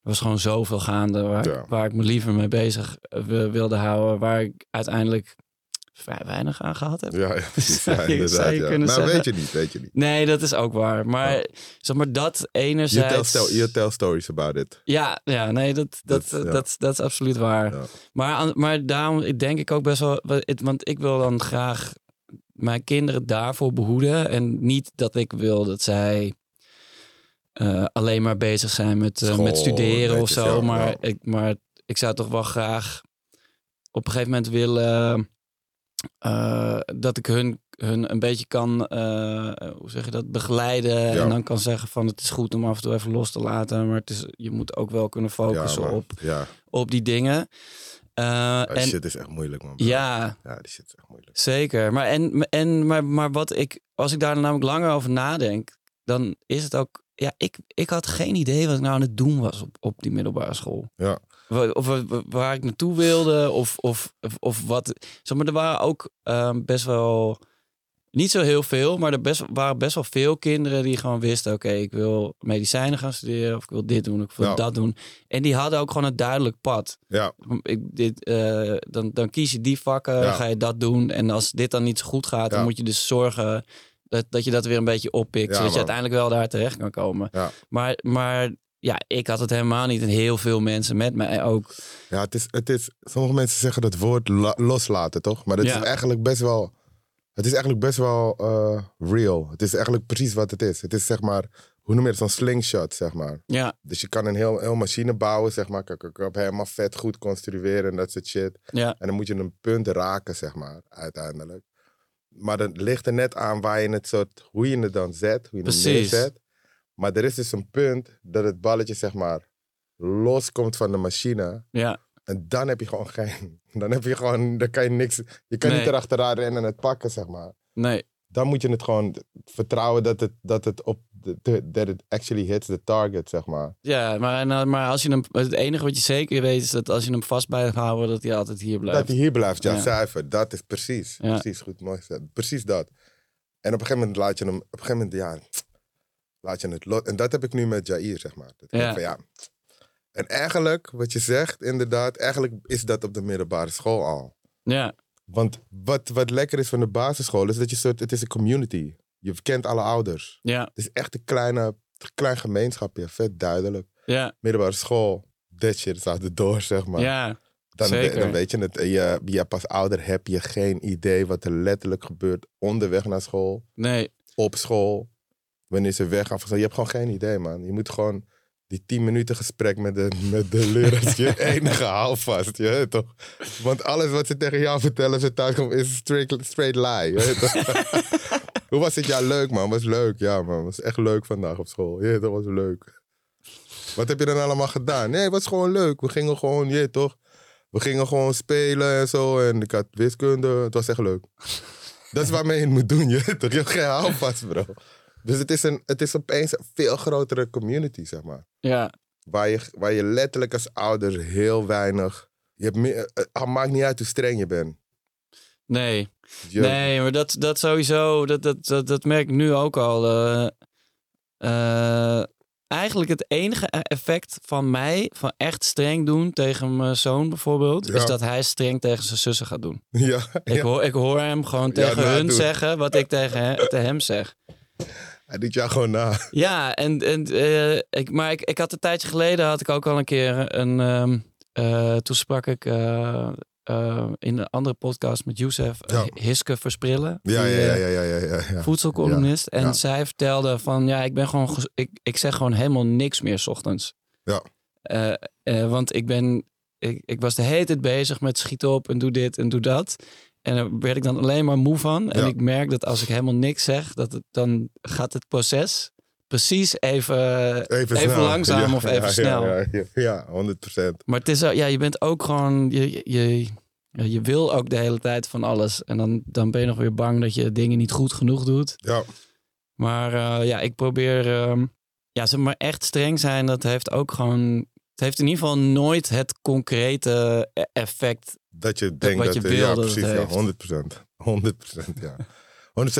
[SPEAKER 1] was gewoon zoveel gaande waar,
[SPEAKER 3] Ja.
[SPEAKER 1] waar ik me liever mee bezig eh, wi- wilde houden. Waar ik uiteindelijk vrij weinig aan gehad heb.
[SPEAKER 3] Ja, ja, precies. Ja,
[SPEAKER 1] Zou je-
[SPEAKER 3] inderdaad.
[SPEAKER 1] zou je
[SPEAKER 3] ja.
[SPEAKER 1] kunnen
[SPEAKER 3] nou,
[SPEAKER 1] zeggen-
[SPEAKER 3] weet je niet, weet je niet.
[SPEAKER 1] Nee, dat is ook waar. Maar,
[SPEAKER 3] Ja.
[SPEAKER 1] zeg maar dat
[SPEAKER 3] You
[SPEAKER 1] enerzijds...
[SPEAKER 3] tell, sto- you tell stories about it.
[SPEAKER 1] Ja, ja, nee, dat, dat,
[SPEAKER 3] Dat,
[SPEAKER 1] dat,
[SPEAKER 3] ja.
[SPEAKER 1] dat, is absoluut waar.
[SPEAKER 3] Ja.
[SPEAKER 1] Maar, aan- maar daarom denk ik ook best wel, wa- het- want ik wil dan graag mijn kinderen daarvoor behoeden. En niet dat ik wil dat zij eh, alleen maar bezig zijn met, eh,
[SPEAKER 3] School,
[SPEAKER 1] met studeren of
[SPEAKER 3] netjes,
[SPEAKER 1] zo.
[SPEAKER 3] ja,
[SPEAKER 1] maar,
[SPEAKER 3] ja.
[SPEAKER 1] Ik, maar ik zou toch wel graag op een gegeven moment willen eh, dat ik hun, hun een beetje kan, eh, hoe zeg je dat, begeleiden. En dan kan zeggen van het is goed om af en toe even los te laten. Maar het is, je moet ook wel kunnen focussen
[SPEAKER 3] ja, maar-
[SPEAKER 1] op,
[SPEAKER 3] Ja,
[SPEAKER 1] op die dingen. Eh,
[SPEAKER 3] die
[SPEAKER 1] en
[SPEAKER 3] shit is echt moeilijk, man.
[SPEAKER 1] ja,
[SPEAKER 3] Ja, die shit is echt moeilijk.
[SPEAKER 1] zeker. Maar, en, en, maar, maar wat ik, als ik daar namelijk langer over nadenk, dan is het ook. Ja, ik, ik had geen idee wat ik nou aan het doen was op, op die middelbare school.
[SPEAKER 3] Ja.
[SPEAKER 1] Wa- Of, wa- wa- waar ik naartoe wilde, of, of, of, of wat. Zeg maar, er waren ook ehm, best wel. Niet zo heel veel, maar er best, waren best wel veel kinderen die gewoon wisten: oké, ik wil medicijnen gaan studeren, of ik wil dit doen, of ik wil
[SPEAKER 3] Ja.
[SPEAKER 1] dat doen. En die hadden ook gewoon een duidelijk pad
[SPEAKER 3] Ja,
[SPEAKER 1] ik, dit, eh, dan, dan kies je die vakken,
[SPEAKER 3] Ja.
[SPEAKER 1] ga je dat doen. En als dit dan niet zo goed gaat,
[SPEAKER 3] Ja.
[SPEAKER 1] dan moet je dus zorgen dat, dat je dat weer een beetje oppikt.
[SPEAKER 3] Ja,
[SPEAKER 1] zodat je
[SPEAKER 3] man.
[SPEAKER 1] uiteindelijk wel daar terecht kan komen.
[SPEAKER 3] Ja.
[SPEAKER 1] Maar, maar ja, ik had het helemaal niet. En heel veel mensen met mij ook.
[SPEAKER 3] ja het is, het is, sommige mensen zeggen dat woord la- loslaten, toch? Maar dat
[SPEAKER 1] Ja.
[SPEAKER 3] is eigenlijk best wel, het is eigenlijk best wel eh, real. Het is eigenlijk precies wat het is. Het is zeg maar, hoe noem je het, zo'n slingshot, zeg maar.
[SPEAKER 1] Ja,
[SPEAKER 3] Dus je kan een heel, heel machine bouwen, zeg maar. Kak, kak, kak, helemaal vet goed construeren en dat soort shit.
[SPEAKER 1] Ja.
[SPEAKER 3] En dan moet je een punt raken, zeg maar, uiteindelijk. Maar het ligt er net aan waar je het soort, hoe je het dan zet, hoe je
[SPEAKER 1] Precies.
[SPEAKER 3] het neerzet. Maar er is dus een punt dat het balletje, zeg maar, loskomt van de machine.
[SPEAKER 1] ja,
[SPEAKER 3] En dan heb je gewoon geen, dan heb je gewoon, dan kan je niks, je kan
[SPEAKER 1] Nee.
[SPEAKER 3] niet erachteraan rennen en het pakken, zeg maar.
[SPEAKER 1] nee,
[SPEAKER 3] Dan moet je het gewoon vertrouwen dat het, dat het op, de- that it actually hits the target, zeg maar.
[SPEAKER 1] ja maar, en, eh, maar als je hem, het enige wat je zeker weet is dat als je hem vast blijft houden, dat hij altijd hier blijft.
[SPEAKER 3] Dat hij hier blijft, ja,
[SPEAKER 1] Ja.
[SPEAKER 3] zuiver. Dat is precies.
[SPEAKER 1] Ja.
[SPEAKER 3] Precies, goed, mooi gezegd. Precies dat. En op een gegeven moment laat je hem, op een gegeven moment, ja, laat je het lot. En dat heb ik nu met Jair, zeg maar. Dat
[SPEAKER 1] Ja.
[SPEAKER 3] ik denk van, ja. En eigenlijk, wat je zegt, inderdaad, eigenlijk is dat op de middelbare school al.
[SPEAKER 1] Ja,
[SPEAKER 3] Want wat, wat lekker is van de basisschool, is dat je soort, het is een community. Je kent alle ouders.
[SPEAKER 1] ja,
[SPEAKER 3] Het is echt een kleine, klein gemeenschapje, vet duidelijk.
[SPEAKER 1] ja,
[SPEAKER 3] Middelbare school, dat shit is uit de door, zeg maar.
[SPEAKER 1] ja,
[SPEAKER 3] Dan, we-
[SPEAKER 1] Zeker.
[SPEAKER 3] dan weet je het. Je, je pas ouder heb je geen idee wat er letterlijk gebeurt onderweg naar school,
[SPEAKER 1] nee,
[SPEAKER 3] op school, wanneer ze weggaan. van school. Je hebt gewoon geen idee, man. Je moet gewoon die 10 minuten gesprek met de, met de leraar is je enige houvast, je weet toch? Want alles wat ze tegen jou vertellen als je thuis komt is straight, straight lie, je weet toch? Hoe was het? Ja, leuk, man. Was leuk. Ja, man. Was echt leuk vandaag op school. Ja, dat was leuk. Wat heb je dan allemaal gedaan? Nee, het was gewoon leuk. We gingen gewoon, je weet toch? We gingen gewoon spelen en zo. En ik had wiskunde. Het was echt leuk. Dat is waarmee je het moet doen, je weet toch? Je hebt geen houvast, bro. Dus het is, een, het is opeens een veel grotere community, zeg maar.
[SPEAKER 1] ja,
[SPEAKER 3] Waar je, waar je letterlijk als ouder heel weinig... Je hebt meer, eh, eh, maakt niet uit hoe streng je bent.
[SPEAKER 1] nee.
[SPEAKER 3] Je-
[SPEAKER 1] Nee, maar dat, dat sowieso, dat, dat, dat, dat merk ik nu ook al. eh, eh, eigenlijk het enige e-, effect van mij, van echt streng doen tegen mijn zoon bijvoorbeeld,
[SPEAKER 3] Ja.
[SPEAKER 1] is dat hij streng tegen zijn zussen gaat doen.
[SPEAKER 3] Ja, nou,
[SPEAKER 1] Ik, hoor, ik hoor hem gewoon tegen hun
[SPEAKER 3] nadoen.
[SPEAKER 1] zeggen wat ik tegen he- te hem zeg.
[SPEAKER 3] hij doet jou gewoon na.
[SPEAKER 1] Ja, en, en, eh, ik, maar ik, ik had een tijdje geleden had ik ook al een keer een. ehm, eh, toen sprak ik eh, eh, in een andere podcast met Youssef eh,
[SPEAKER 3] Ja.
[SPEAKER 1] Hiske Versprillen.
[SPEAKER 3] Ja,
[SPEAKER 1] die,
[SPEAKER 3] ja,
[SPEAKER 1] eh,
[SPEAKER 3] ja, ja, ja, ja, ja, ja.
[SPEAKER 1] voedselcolumnist. En
[SPEAKER 3] ja.
[SPEAKER 1] zij vertelde van ja, ik ben gewoon, ges- ik, ik zeg gewoon helemaal niks meer 's ochtends.
[SPEAKER 3] Ja.
[SPEAKER 1] Eh, eh, want ik ben, ik, ik was de hele tijd bezig met schiet op en doe dit en doe dat. En daar werd ik dan alleen maar moe van. En
[SPEAKER 3] Ja.
[SPEAKER 1] ik merk dat als ik helemaal niks zeg, dat het, dan gaat het proces precies even. eh,
[SPEAKER 3] Even,
[SPEAKER 1] Even
[SPEAKER 3] snel.
[SPEAKER 1] langzaam of even
[SPEAKER 3] ja,
[SPEAKER 1] snel.
[SPEAKER 3] Ja, ja, ja, 100 procent.
[SPEAKER 1] Maar het is, ook- ja, je bent ook gewoon, je, je- je, ja, je wil ook de hele tijd van alles. En dan, dan ben je nog weer bang dat je dingen niet goed genoeg doet.
[SPEAKER 3] Ja,
[SPEAKER 1] Maar eh, ja, ik probeer. ehm, ja, zeg maar echt streng zijn, dat heeft ook gewoon. Het heeft in ieder geval nooit het concrete e- effect.
[SPEAKER 3] dat je denkt
[SPEAKER 1] wat
[SPEAKER 3] dat...
[SPEAKER 1] je
[SPEAKER 3] eh, ja,
[SPEAKER 1] wil dat het
[SPEAKER 3] precies, ja,
[SPEAKER 1] heeft.
[SPEAKER 3] 100 procent. 100% ja.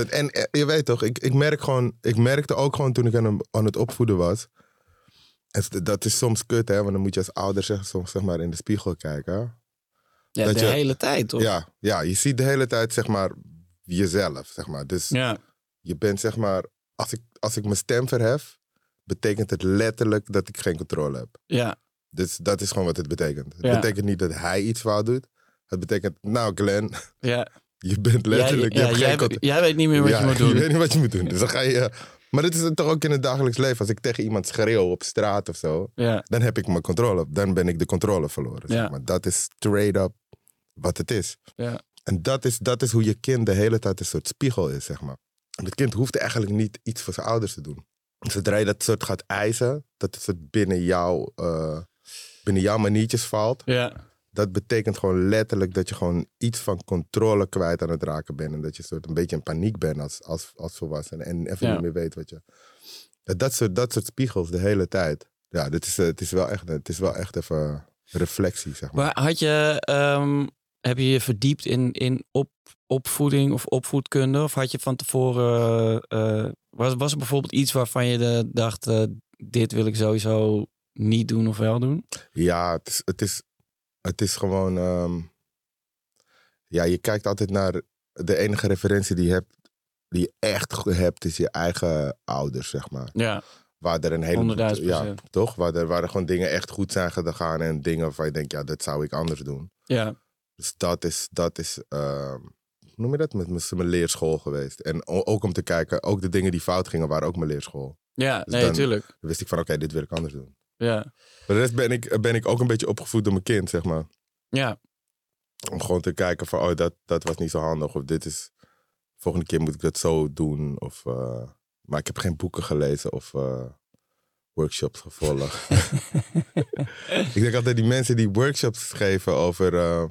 [SPEAKER 3] 100%. En eh, je weet toch, ik, ik, merk gewoon, ik merkte ook gewoon toen ik aan, hem, aan het opvoeden was. En s- dat is soms kut, hè? Want dan moet je als ouder zeg, soms zeg maar in de spiegel kijken.
[SPEAKER 1] Ja,
[SPEAKER 3] Dat
[SPEAKER 1] de
[SPEAKER 3] je-
[SPEAKER 1] hele tijd, toch?
[SPEAKER 3] Ja, ja, je ziet de hele tijd zeg maar jezelf, zeg maar. Dus
[SPEAKER 1] Ja.
[SPEAKER 3] je bent zeg maar, als ik, als ik mijn stem verhef, betekent het letterlijk dat ik geen controle heb.
[SPEAKER 1] ja.
[SPEAKER 3] Dus dat is gewoon wat het betekent. Het
[SPEAKER 1] Ja.
[SPEAKER 3] betekent niet dat hij iets fout doet. Het betekent, nou Glenn,
[SPEAKER 1] ja.
[SPEAKER 3] je bent letterlijk,
[SPEAKER 1] jij,
[SPEAKER 3] je hebt
[SPEAKER 1] ja,
[SPEAKER 3] geen
[SPEAKER 1] jij,
[SPEAKER 3] controle.
[SPEAKER 1] jij weet niet meer wat je moet doen.
[SPEAKER 3] Je weet niet wat je moet doen. Dus dan ga je. eh, Maar dit is het toch ook in het dagelijks leven. Als ik tegen iemand schreeuw op straat of zo,
[SPEAKER 1] Ja,
[SPEAKER 3] dan heb ik mijn controle. Dan ben ik de controle verloren.
[SPEAKER 1] Ja.
[SPEAKER 3] Zeg maar. Dat is straight up wat het is.
[SPEAKER 1] Ja.
[SPEAKER 3] En dat is, dat is hoe je kind de hele tijd een soort spiegel is, zeg maar. En het kind hoeft eigenlijk niet iets voor zijn ouders te doen. Zodra je dat soort gaat eisen, dat het soort binnen, jou, eh, binnen jouw maniertjes valt,
[SPEAKER 1] ja,
[SPEAKER 3] dat betekent gewoon letterlijk dat je gewoon iets van controle kwijt aan het raken bent. En dat je soort een beetje in paniek bent als, als, als volwassene. En even
[SPEAKER 1] Ja.
[SPEAKER 3] niet meer weet wat je. Dat, dat, soort, dat soort spiegels de hele tijd. Ja, dit is, eh, het, is wel echt, het is wel echt even reflectie, zeg maar.
[SPEAKER 1] Maar had je, ehm, heb je je verdiept in, in op, opvoeding of opvoedkunde? Of had je van tevoren, eh, eh, was, was er bijvoorbeeld iets waarvan je de- dacht, eh, dit wil ik sowieso niet doen of wel doen?
[SPEAKER 3] Ja, het is, het is, het is gewoon. ehm, ja, je kijkt altijd naar. De enige referentie die je hebt, die je echt goed hebt, is je eigen ouders, zeg maar.
[SPEAKER 1] Ja,
[SPEAKER 3] Waar er een hele
[SPEAKER 1] 100.000
[SPEAKER 3] ja, toch? Waar er, waar er gewoon dingen echt goed zijn gegaan en dingen waarvan je denkt, ja, dat zou ik anders doen.
[SPEAKER 1] ja,
[SPEAKER 3] Dus dat is, dat is ehm, hoe noem je dat? Met mijn- mijn leerschool geweest. En o- ook om te kijken, ook de dingen die fout gingen, waren ook mijn leerschool.
[SPEAKER 1] ja,
[SPEAKER 3] Dus
[SPEAKER 1] nee,
[SPEAKER 3] dan-
[SPEAKER 1] tuurlijk.
[SPEAKER 3] Dan wist ik van, oké, dit wil ik anders doen.
[SPEAKER 1] Ja,
[SPEAKER 3] Voor de rest ben ik, ben ik ook een beetje opgevoed door mijn kind, zeg maar.
[SPEAKER 1] ja,
[SPEAKER 3] Om gewoon te kijken van, oh, dat, dat was niet zo handig. Of dit is, volgende keer moet ik dat zo doen. Of, eh, maar ik heb geen boeken gelezen of eh, workshops gevolgd. Ik denk altijd die mensen die workshops geven over eh,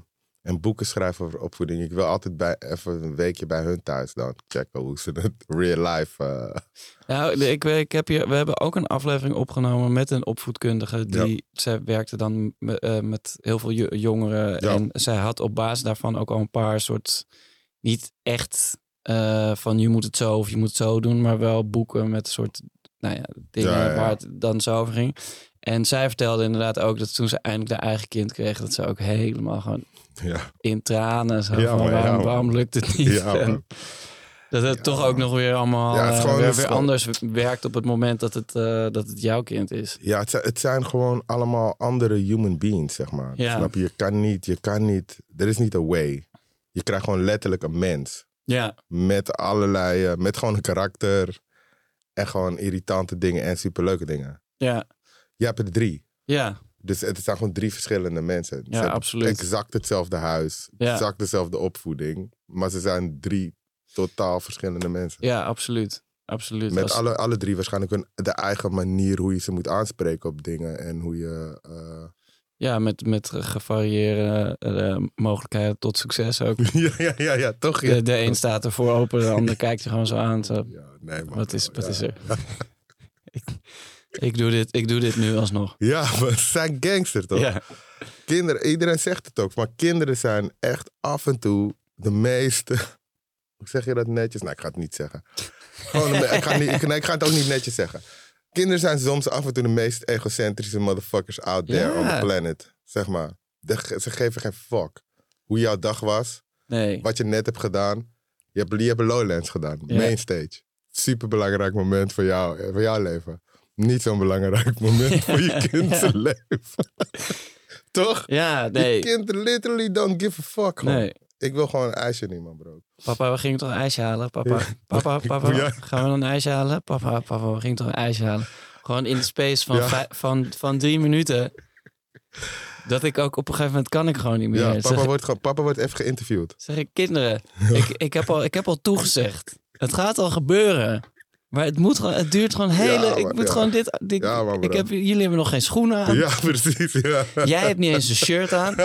[SPEAKER 3] en boeken schrijven over opvoeding. Ik wil altijd bij, even een weekje bij hun thuis dan checken hoe ze het real life. eh,
[SPEAKER 1] Nou, ik, ik heb hier, we hebben ook een aflevering opgenomen met een opvoedkundige. Die, Zij werkte dan me- eh, met heel veel jo- jongeren.
[SPEAKER 3] Ja.
[SPEAKER 1] En zij had op basis daarvan ook al een paar soort... Niet echt eh, van je moet het zo of je moet het zo doen. Maar wel boeken met soort nou ja, dingen
[SPEAKER 3] Ja, ja, ja.
[SPEAKER 1] waar het dan zo over ging. En zij vertelde inderdaad ook dat toen ze eindelijk haar eigen kind kreeg... dat ze ook helemaal gewoon
[SPEAKER 3] ja,
[SPEAKER 1] in tranen zo
[SPEAKER 3] Ja,
[SPEAKER 1] van,
[SPEAKER 3] man, ja,
[SPEAKER 1] waarom,
[SPEAKER 3] man.
[SPEAKER 1] waarom lukt het niet?
[SPEAKER 3] ja,
[SPEAKER 1] En-
[SPEAKER 3] man.
[SPEAKER 1] dat het
[SPEAKER 3] Ja.
[SPEAKER 1] toch ook nog weer allemaal
[SPEAKER 3] Ja, het is
[SPEAKER 1] eh,
[SPEAKER 3] gewoon-
[SPEAKER 1] weer,
[SPEAKER 3] het is
[SPEAKER 1] weer
[SPEAKER 3] gewoon-
[SPEAKER 1] anders werkt op het moment dat het, eh, dat het jouw kind is.
[SPEAKER 3] ja het, zijn, het zijn gewoon allemaal andere human beings, zeg maar.
[SPEAKER 1] Ja.
[SPEAKER 3] Snap je? Je kan niet, je kan niet, er is niet een way. Je krijgt gewoon letterlijk een mens.
[SPEAKER 1] Ja,
[SPEAKER 3] Met allerlei, eh, met gewoon een karakter. En gewoon irritante dingen en superleuke dingen.
[SPEAKER 1] ja,
[SPEAKER 3] Je hebt er drie.
[SPEAKER 1] ja,
[SPEAKER 3] Dus het zijn gewoon drie verschillende mensen. Ze
[SPEAKER 1] ja,
[SPEAKER 3] hebben
[SPEAKER 1] absoluut.
[SPEAKER 3] exact hetzelfde huis,
[SPEAKER 1] Ja.
[SPEAKER 3] exact dezelfde opvoeding. Maar ze zijn drie totaal verschillende mensen.
[SPEAKER 1] Ja, absoluut. Absoluut.
[SPEAKER 3] Met
[SPEAKER 1] Als-
[SPEAKER 3] alle, alle drie waarschijnlijk hun de eigen manier hoe je ze moet aanspreken op dingen. En hoe je... eh,
[SPEAKER 1] Ja, met, met gevarieerde eh, mogelijkheden tot succes ook.
[SPEAKER 3] ja, ja, ja, ja, toch? Ja,
[SPEAKER 1] De, de een staat ervoor open, de ander kijkt je gewoon zo aan. Zo.
[SPEAKER 3] ja nee, man.
[SPEAKER 1] Wat, is, wat
[SPEAKER 3] Ja.
[SPEAKER 1] is er? ik, ik, doe dit, ik doe dit nu alsnog.
[SPEAKER 3] Ja, maar ze zijn gangster toch?
[SPEAKER 1] Ja,
[SPEAKER 3] Kinderen, iedereen zegt het ook. Maar kinderen zijn echt af en toe de meeste... Hoe zeg je dat netjes? Nou, ik ga het niet zeggen. Gewoon, de me- ik, ga niet, ik, nee, ik ga het ook niet netjes zeggen. Kinderen zijn soms af en toe de meest egocentrische motherfuckers out there on the
[SPEAKER 1] Ja.
[SPEAKER 3] planet. Zeg maar. De ge- ze geven geen fuck. Hoe jouw dag was,
[SPEAKER 1] nee.
[SPEAKER 3] wat je net hebt gedaan. Je hebt, je hebt Lowlands gedaan,
[SPEAKER 1] Ja.
[SPEAKER 3] main stage. Superbelangrijk moment voor, jou, eh, voor jouw leven. Niet zo'n belangrijk moment voor je kind zijn leven. Toch?
[SPEAKER 1] Ja,
[SPEAKER 3] Je
[SPEAKER 1] nee.
[SPEAKER 3] kind literally don't give a fuck. gewoon.
[SPEAKER 1] Nee.
[SPEAKER 3] Ik wil gewoon een ijsje in iemand, bro.
[SPEAKER 1] Papa, we gingen toch een ijsje halen? Papa,
[SPEAKER 3] Ja.
[SPEAKER 1] papa, papa,
[SPEAKER 3] Ja.
[SPEAKER 1] gaan we dan een ijsje halen? Papa, papa, we gingen toch een ijsje halen? Gewoon in de space van,
[SPEAKER 3] Ja.
[SPEAKER 1] vij- van, van drie minuten. Dat ik ook op een gegeven moment kan ik gewoon niet meer.
[SPEAKER 3] Ja, papa
[SPEAKER 1] zeg,
[SPEAKER 3] wordt, gewoon- papa wordt even geïnterviewd.
[SPEAKER 1] zeg ik, kinderen, ik, ik, heb al, ik heb al toegezegd. Het gaat al gebeuren. Maar het, moet, gewoon- het duurt gewoon hele...
[SPEAKER 3] Ja,
[SPEAKER 1] ik
[SPEAKER 3] man,
[SPEAKER 1] moet
[SPEAKER 3] ja.
[SPEAKER 1] gewoon dit... dit
[SPEAKER 3] Ja, man,
[SPEAKER 1] ik
[SPEAKER 3] bro.
[SPEAKER 1] heb, jullie hebben nog geen schoenen aan.
[SPEAKER 3] Ja, precies. Ja.
[SPEAKER 1] Jij hebt niet eens een shirt aan.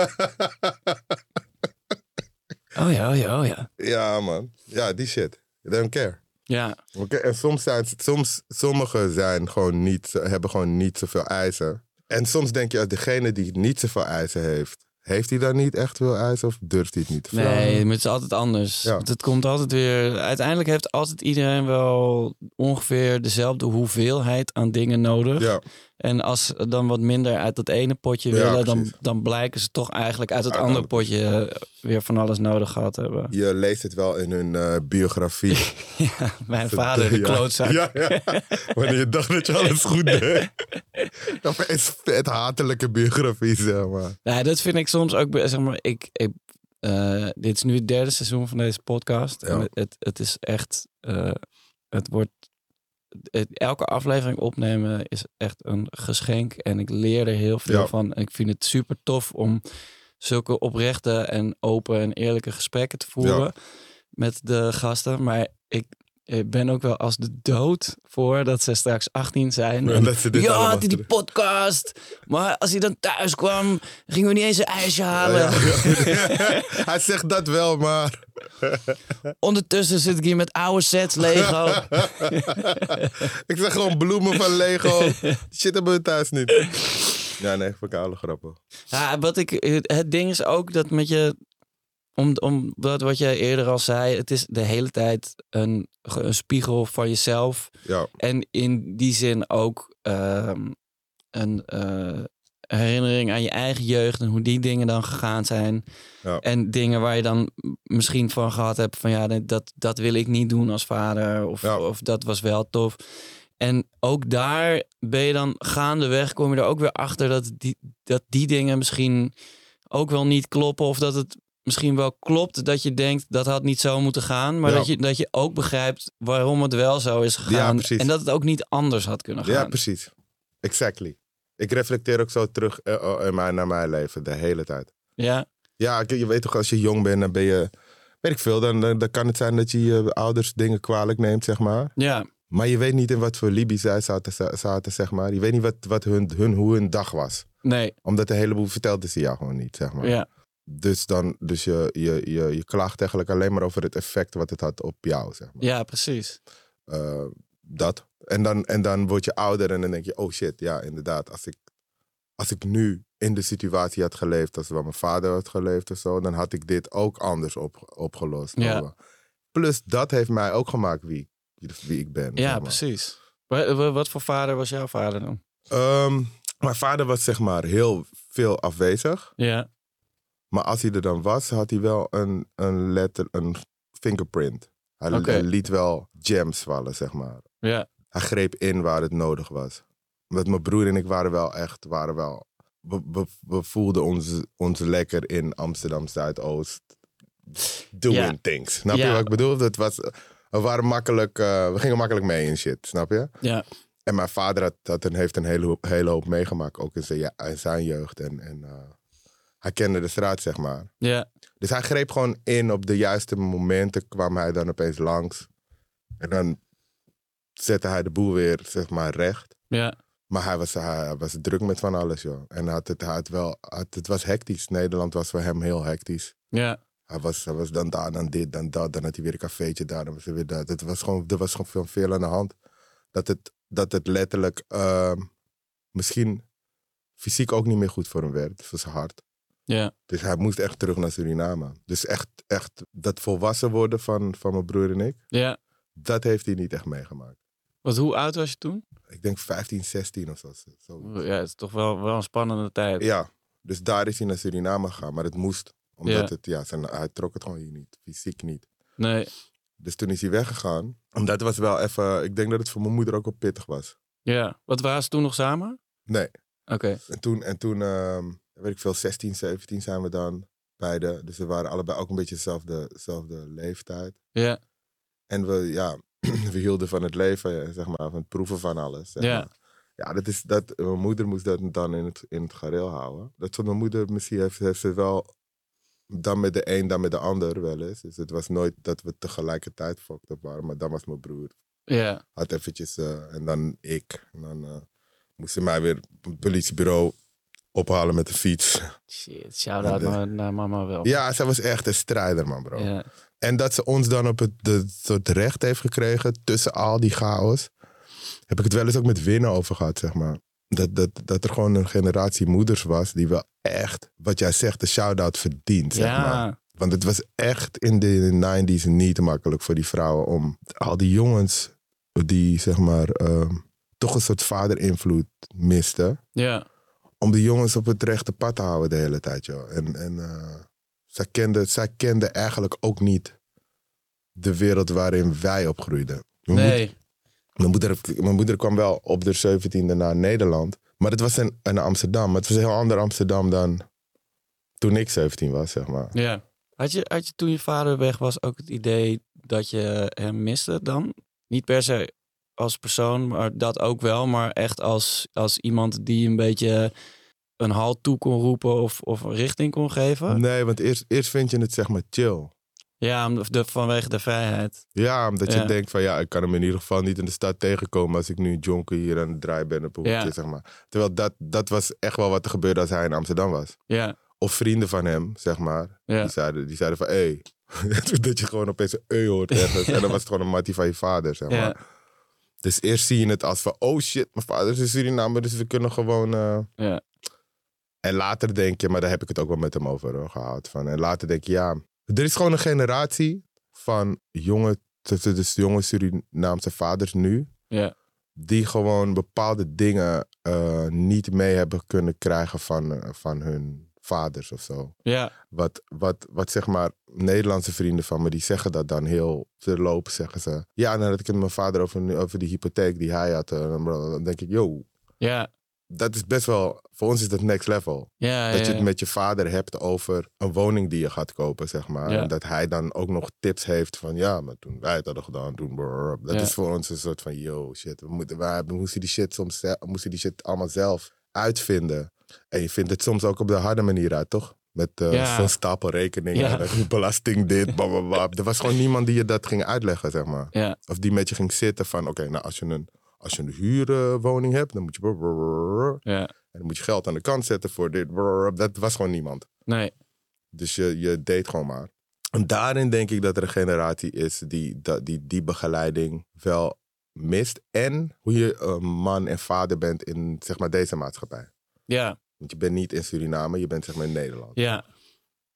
[SPEAKER 1] Oh ja, oh ja, oh ja.
[SPEAKER 3] Ja, man. Ja, die shit. I don't care.
[SPEAKER 1] Ja,
[SPEAKER 3] Oké, En soms zijn, soms, sommigen zijn gewoon niet, hebben gewoon niet zoveel eisen. En soms denk je, als degene die niet zoveel eisen heeft, Heeft hij dan niet echt veel uit of durft hij het niet te
[SPEAKER 1] Nee, maar het is altijd anders.
[SPEAKER 3] Ja.
[SPEAKER 1] Het komt altijd weer. Uiteindelijk heeft altijd iedereen wel ongeveer dezelfde hoeveelheid aan dingen nodig.
[SPEAKER 3] Ja,
[SPEAKER 1] En als ze dan wat minder uit dat ene potje
[SPEAKER 3] Ja,
[SPEAKER 1] willen, dan,
[SPEAKER 3] precies.
[SPEAKER 1] dan blijken ze toch eigenlijk uit het
[SPEAKER 3] Uit
[SPEAKER 1] andere
[SPEAKER 3] alle
[SPEAKER 1] potje eh, weer van alles nodig gehad te hebben.
[SPEAKER 3] je leest het wel in hun eh, biografie.
[SPEAKER 1] Ja, mijn vader, de
[SPEAKER 3] Ja.
[SPEAKER 1] klootzak.
[SPEAKER 3] Ja, ja. Wanneer je dacht dat je alles goed deed. Dat is vet hatelijke biografie, zeg maar.
[SPEAKER 1] Nou, dat vind ik soms ook, be- zeg maar, ik, ik, eh, dit is nu het derde seizoen van deze podcast.
[SPEAKER 3] Ja.
[SPEAKER 1] En het- het, het is echt, eh, het wordt, het- elke aflevering opnemen is echt een geschenk. En ik leer er heel veel
[SPEAKER 3] Ja.
[SPEAKER 1] van. En ik vind het super tof om zulke oprechte en open en eerlijke gesprekken te voeren
[SPEAKER 3] Ja.
[SPEAKER 1] met de gasten. Maar ik, ik ben ook wel als de dood voor dat ze straks 18 zijn. En-
[SPEAKER 3] Dat ze dit
[SPEAKER 1] ja,
[SPEAKER 3] allemaal
[SPEAKER 1] had hij die
[SPEAKER 3] terug-
[SPEAKER 1] podcast. Maar als hij dan thuis kwam, gingen we niet eens een ijsje halen.
[SPEAKER 3] Ja, ja. Hij zegt dat wel, maar...
[SPEAKER 1] Ondertussen zit ik hier met oude sets, Lego.
[SPEAKER 3] ik zeg gewoon bloemen van Lego. Shit hebben we thuis niet. Ja, nee, voor koude grappen.
[SPEAKER 1] ja, wat ik, het ding is ook dat met je... Om, om dat wat jij eerder al zei, het is de hele tijd een, ge- een spiegel van jezelf.
[SPEAKER 3] Ja,
[SPEAKER 1] En in die zin ook ehm, een eh, herinnering aan je eigen jeugd en hoe die dingen dan gegaan zijn.
[SPEAKER 3] Ja.
[SPEAKER 1] En dingen waar je dan misschien van gehad hebt van ja, nee, dat, dat wil ik niet doen als vader. Of,
[SPEAKER 3] Ja.
[SPEAKER 1] of dat was wel tof. En ook daar ben je dan gaandeweg, kom je er ook weer achter dat die, dat die dingen misschien ook wel niet kloppen. Of dat het misschien wel klopt dat je denkt dat had niet zo moeten gaan. Maar
[SPEAKER 3] Ja.
[SPEAKER 1] dat, je, dat je ook begrijpt waarom het wel zo is gegaan.
[SPEAKER 3] precies.
[SPEAKER 1] en dat het ook niet anders had kunnen gaan.
[SPEAKER 3] ja precies. Exactly. Ik reflecteer ook zo terug eh, oh, in mijn, naar mijn leven de hele tijd.
[SPEAKER 1] ja.
[SPEAKER 3] Ja, ik- je weet toch, als je jong bent, dan ben je... Weet ik veel, dan, dan dan kan het zijn dat je je ouders dingen kwalijk neemt, zeg maar.
[SPEAKER 1] Ja,
[SPEAKER 3] Maar je weet niet in wat voor Libië zij zaten, zaten, zeg maar. Je weet niet wat, wat hun, hun, hoe hun dag was.
[SPEAKER 1] nee,
[SPEAKER 3] Omdat een heleboel vertelde ze jou gewoon niet, zeg maar.
[SPEAKER 1] ja,
[SPEAKER 3] Dus, dan, dus je, je, je, je klaagt eigenlijk alleen maar over het effect wat het had op jou, zeg maar.
[SPEAKER 1] ja, precies.
[SPEAKER 3] Eh, dat. En dan, en dan word je ouder en dan denk je, oh shit, ja, inderdaad. Als ik, als ik nu in de situatie had geleefd, als waar mijn vader had geleefd of zo, dan had ik dit ook anders op, opgelost.
[SPEAKER 1] Ja.
[SPEAKER 3] Plus, dat heeft mij ook gemaakt wie, ik- wie ik ben. zeg
[SPEAKER 1] Ja,
[SPEAKER 3] maar.
[SPEAKER 1] precies. Wa- wa- Wat voor vader was jouw vader dan?
[SPEAKER 3] Ehm, mijn vader was zeg maar heel veel afwezig.
[SPEAKER 1] Ja,
[SPEAKER 3] Maar als hij er dan was, had hij wel een, een letter, een fingerprint. Hij
[SPEAKER 1] Oké.
[SPEAKER 3] hij liet wel gems vallen, zeg maar.
[SPEAKER 1] ja,
[SPEAKER 3] Hij greep in waar het nodig was. Omdat mijn broer en ik waren wel echt, waren wel... We, we, we voelden ons, ons lekker in Amsterdam Zuidoost. Doing
[SPEAKER 1] Ja.
[SPEAKER 3] things. Snap je
[SPEAKER 1] Ja.
[SPEAKER 3] wat ik bedoel? Dat was, we, waren makkelijk, eh, we gingen makkelijk mee in shit, snap je?
[SPEAKER 1] ja,
[SPEAKER 3] En mijn vader had, had een, heeft een hele, hoop- hele hoop meegemaakt, ook in zijn, ja- in zijn jeugd. En, en eh, hij kende de straat, zeg maar.
[SPEAKER 1] ja,
[SPEAKER 3] Dus hij greep gewoon in op de juiste momenten, kwam hij dan opeens langs. En dan zette hij de boel weer, zeg maar, recht.
[SPEAKER 1] ja,
[SPEAKER 3] Maar hij was, hij was druk met van alles, joh. En hij had het, hij had wel, had- het was hectisch. Nederland was voor hem heel hectisch.
[SPEAKER 1] ja,
[SPEAKER 3] Hij was, hij was dan daar, dan dit, dan dat. Dan had hij weer een cafeetje daar, dan was hij weer dat. Het was gewoon, er was gewoon veel, veel aan de hand. Dat het, dat het letterlijk ehm, misschien fysiek ook niet meer goed voor hem werd, voor zijn hart.
[SPEAKER 1] ja,
[SPEAKER 3] Dus hij moest echt terug naar Suriname. Dus echt, echt dat volwassen worden van, van mijn broer en ik,
[SPEAKER 1] ja.
[SPEAKER 3] dat heeft hij niet echt meegemaakt.
[SPEAKER 1] Want hoe oud was je toen?
[SPEAKER 3] Ik denk 15, 16 of zo. zo.
[SPEAKER 1] Ja, het is toch wel, wel een spannende tijd.
[SPEAKER 3] Ja, dus daar is hij naar Suriname gegaan, maar het moest. Omdat
[SPEAKER 1] Ja.
[SPEAKER 3] het, ja, zijn, hij trok het gewoon hier niet, fysiek niet.
[SPEAKER 1] Nee,
[SPEAKER 3] Dus toen is hij weggegaan. Dat was wel even. Ik denk dat het voor mijn moeder ook wel pittig was.
[SPEAKER 1] ja. Wat waren ze toen nog samen?
[SPEAKER 3] Nee.
[SPEAKER 1] Oké,
[SPEAKER 3] En toen, en toen ehm, weet ik veel, 16, 17 zijn we dan beide. Dus we waren allebei ook een beetje dezelfde, dezelfde leeftijd.
[SPEAKER 1] ja,
[SPEAKER 3] En we, ja, we hielden van het leven, zeg maar, van het proeven van alles. zeg
[SPEAKER 1] Ja.
[SPEAKER 3] maar. Ja, dat is, dat, mijn moeder moest dat dan in het, in het gareel houden. Dat vond mijn moeder, misschien heeft, heeft ze wel dan met de een, dan met de ander wel eens. Dus het was nooit dat we tegelijkertijd fucked up waren, maar dan was mijn broer
[SPEAKER 1] ja,
[SPEAKER 3] had eventjes, eh, en dan ik. En dan eh moest ze mij weer op het politiebureau ophalen met de fiets.
[SPEAKER 1] Shit, shout-out
[SPEAKER 3] Ja, de-
[SPEAKER 1] naar, naar mama wel.
[SPEAKER 3] Ja, zij was echt een strijder, man, bro.
[SPEAKER 1] Ja,
[SPEAKER 3] En dat ze ons dan op het de, soort recht heeft gekregen tussen al die chaos. Heb ik het wel eens ook met winnen over gehad, zeg maar. dat, dat, dat er gewoon een generatie moeders was die wel echt, wat jij zegt, de shout-out verdient. Zeg maar.
[SPEAKER 1] ja,
[SPEAKER 3] Want het was echt in de 90s niet makkelijk voor die vrouwen om al die jongens die zeg maar ehm, toch een soort vaderinvloed misten,
[SPEAKER 1] ja,
[SPEAKER 3] om die jongens op het rechte pad te houden de hele tijd, joh. En, en eh, zij, kenden, zij kenden eigenlijk ook niet de wereld waarin wij opgroeiden. Mijn moed-
[SPEAKER 1] nee.
[SPEAKER 3] mijn, moeder, mijn moeder kwam wel op de 17e naar Nederland, maar het was een, een Amsterdam. Het was een heel ander Amsterdam dan toen ik 17 was, zeg maar.
[SPEAKER 1] Ja. Had je, had je toen je vader weg was ook het idee dat je hem miste dan? Niet per se als persoon, maar dat ook wel. Maar echt als, als iemand die een beetje een halt toe kon roepen of, of een richting kon geven.
[SPEAKER 3] Nee, want eerst, eerst vind je het zeg maar chill.
[SPEAKER 1] Ja, om de, vanwege de vrijheid.
[SPEAKER 3] Ja, omdat je
[SPEAKER 1] Ja.
[SPEAKER 3] denkt van ja, ik kan hem in ieder geval niet in de stad tegenkomen als ik nu jonker hier aan het draaien ben op een
[SPEAKER 1] Ja.
[SPEAKER 3] hoekje, zeg maar. Terwijl dat, dat was echt wel wat er gebeurde als hij in Amsterdam was.
[SPEAKER 1] Ja,
[SPEAKER 3] Of vrienden van hem, zeg maar,
[SPEAKER 1] ja,
[SPEAKER 3] die, zeiden, die zeiden van hé. dat je gewoon opeens een eu hoort ergens. En dan was het gewoon een mattie van je vader, zeg maar.
[SPEAKER 1] ja,
[SPEAKER 3] Dus eerst zie je het als van oh shit, mijn vader is een Surinamer, dus we kunnen gewoon... eh,
[SPEAKER 1] ja,
[SPEAKER 3] en later denk je, maar daar heb ik het ook wel met hem over hoor, gehad. Van. En later denk je, ja, er is gewoon een generatie van jonge, tussen dus jonge Surinaamse vaders nu.
[SPEAKER 1] Ja.
[SPEAKER 3] Die gewoon bepaalde dingen eh, niet mee hebben kunnen krijgen van, eh, van hun vaders of zo.
[SPEAKER 1] ja,
[SPEAKER 3] Wat, wat, wat zeg maar Nederlandse vrienden van me, die zeggen dat dan heel verlopen, zeggen ze. Ja, nadat ik het met mijn vader over, over die hypotheek die hij had, eh, dan denk ik, yo,
[SPEAKER 1] ja,
[SPEAKER 3] dat is best wel, voor ons is dat next level.
[SPEAKER 1] ja.
[SPEAKER 3] Dat je het
[SPEAKER 1] ja.
[SPEAKER 3] met je vader hebt over een woning die je gaat kopen, zeg maar.
[SPEAKER 1] Ja.
[SPEAKER 3] En dat hij dan ook nog tips heeft van, ja, maar toen wij het hadden gedaan, toen... brrr. Dat
[SPEAKER 1] Ja.
[SPEAKER 3] is voor ons een soort van, yo, shit. We, moeten, wij, we moesten die shit soms ze- we moesten die shit allemaal zelf uitvinden. En je vindt het soms ook op de harde manier uit, toch? Met eh,
[SPEAKER 1] Ja.
[SPEAKER 3] zo'n stapel rekeningen,
[SPEAKER 1] Ja.
[SPEAKER 3] en dan belasting dit, blablabla. Er was gewoon niemand die je dat ging uitleggen, zeg maar.
[SPEAKER 1] Ja.
[SPEAKER 3] Of die met je ging zitten van, oké, nou, als je een, als je een huurwoning hebt, dan moet je... brrr.
[SPEAKER 1] Ja,
[SPEAKER 3] En dan moet je geld aan de kant zetten voor dit. brrr, Dat was gewoon niemand.
[SPEAKER 1] nee,
[SPEAKER 3] Dus je, je deed gewoon maar. En daarin denk ik dat er een generatie is die dat- die, die begeleiding wel mist. En hoe je eh, man en vader bent in zeg maar, deze maatschappij.
[SPEAKER 1] ja,
[SPEAKER 3] Want je bent niet in Suriname, je bent zeg maar in Nederland.
[SPEAKER 1] ja,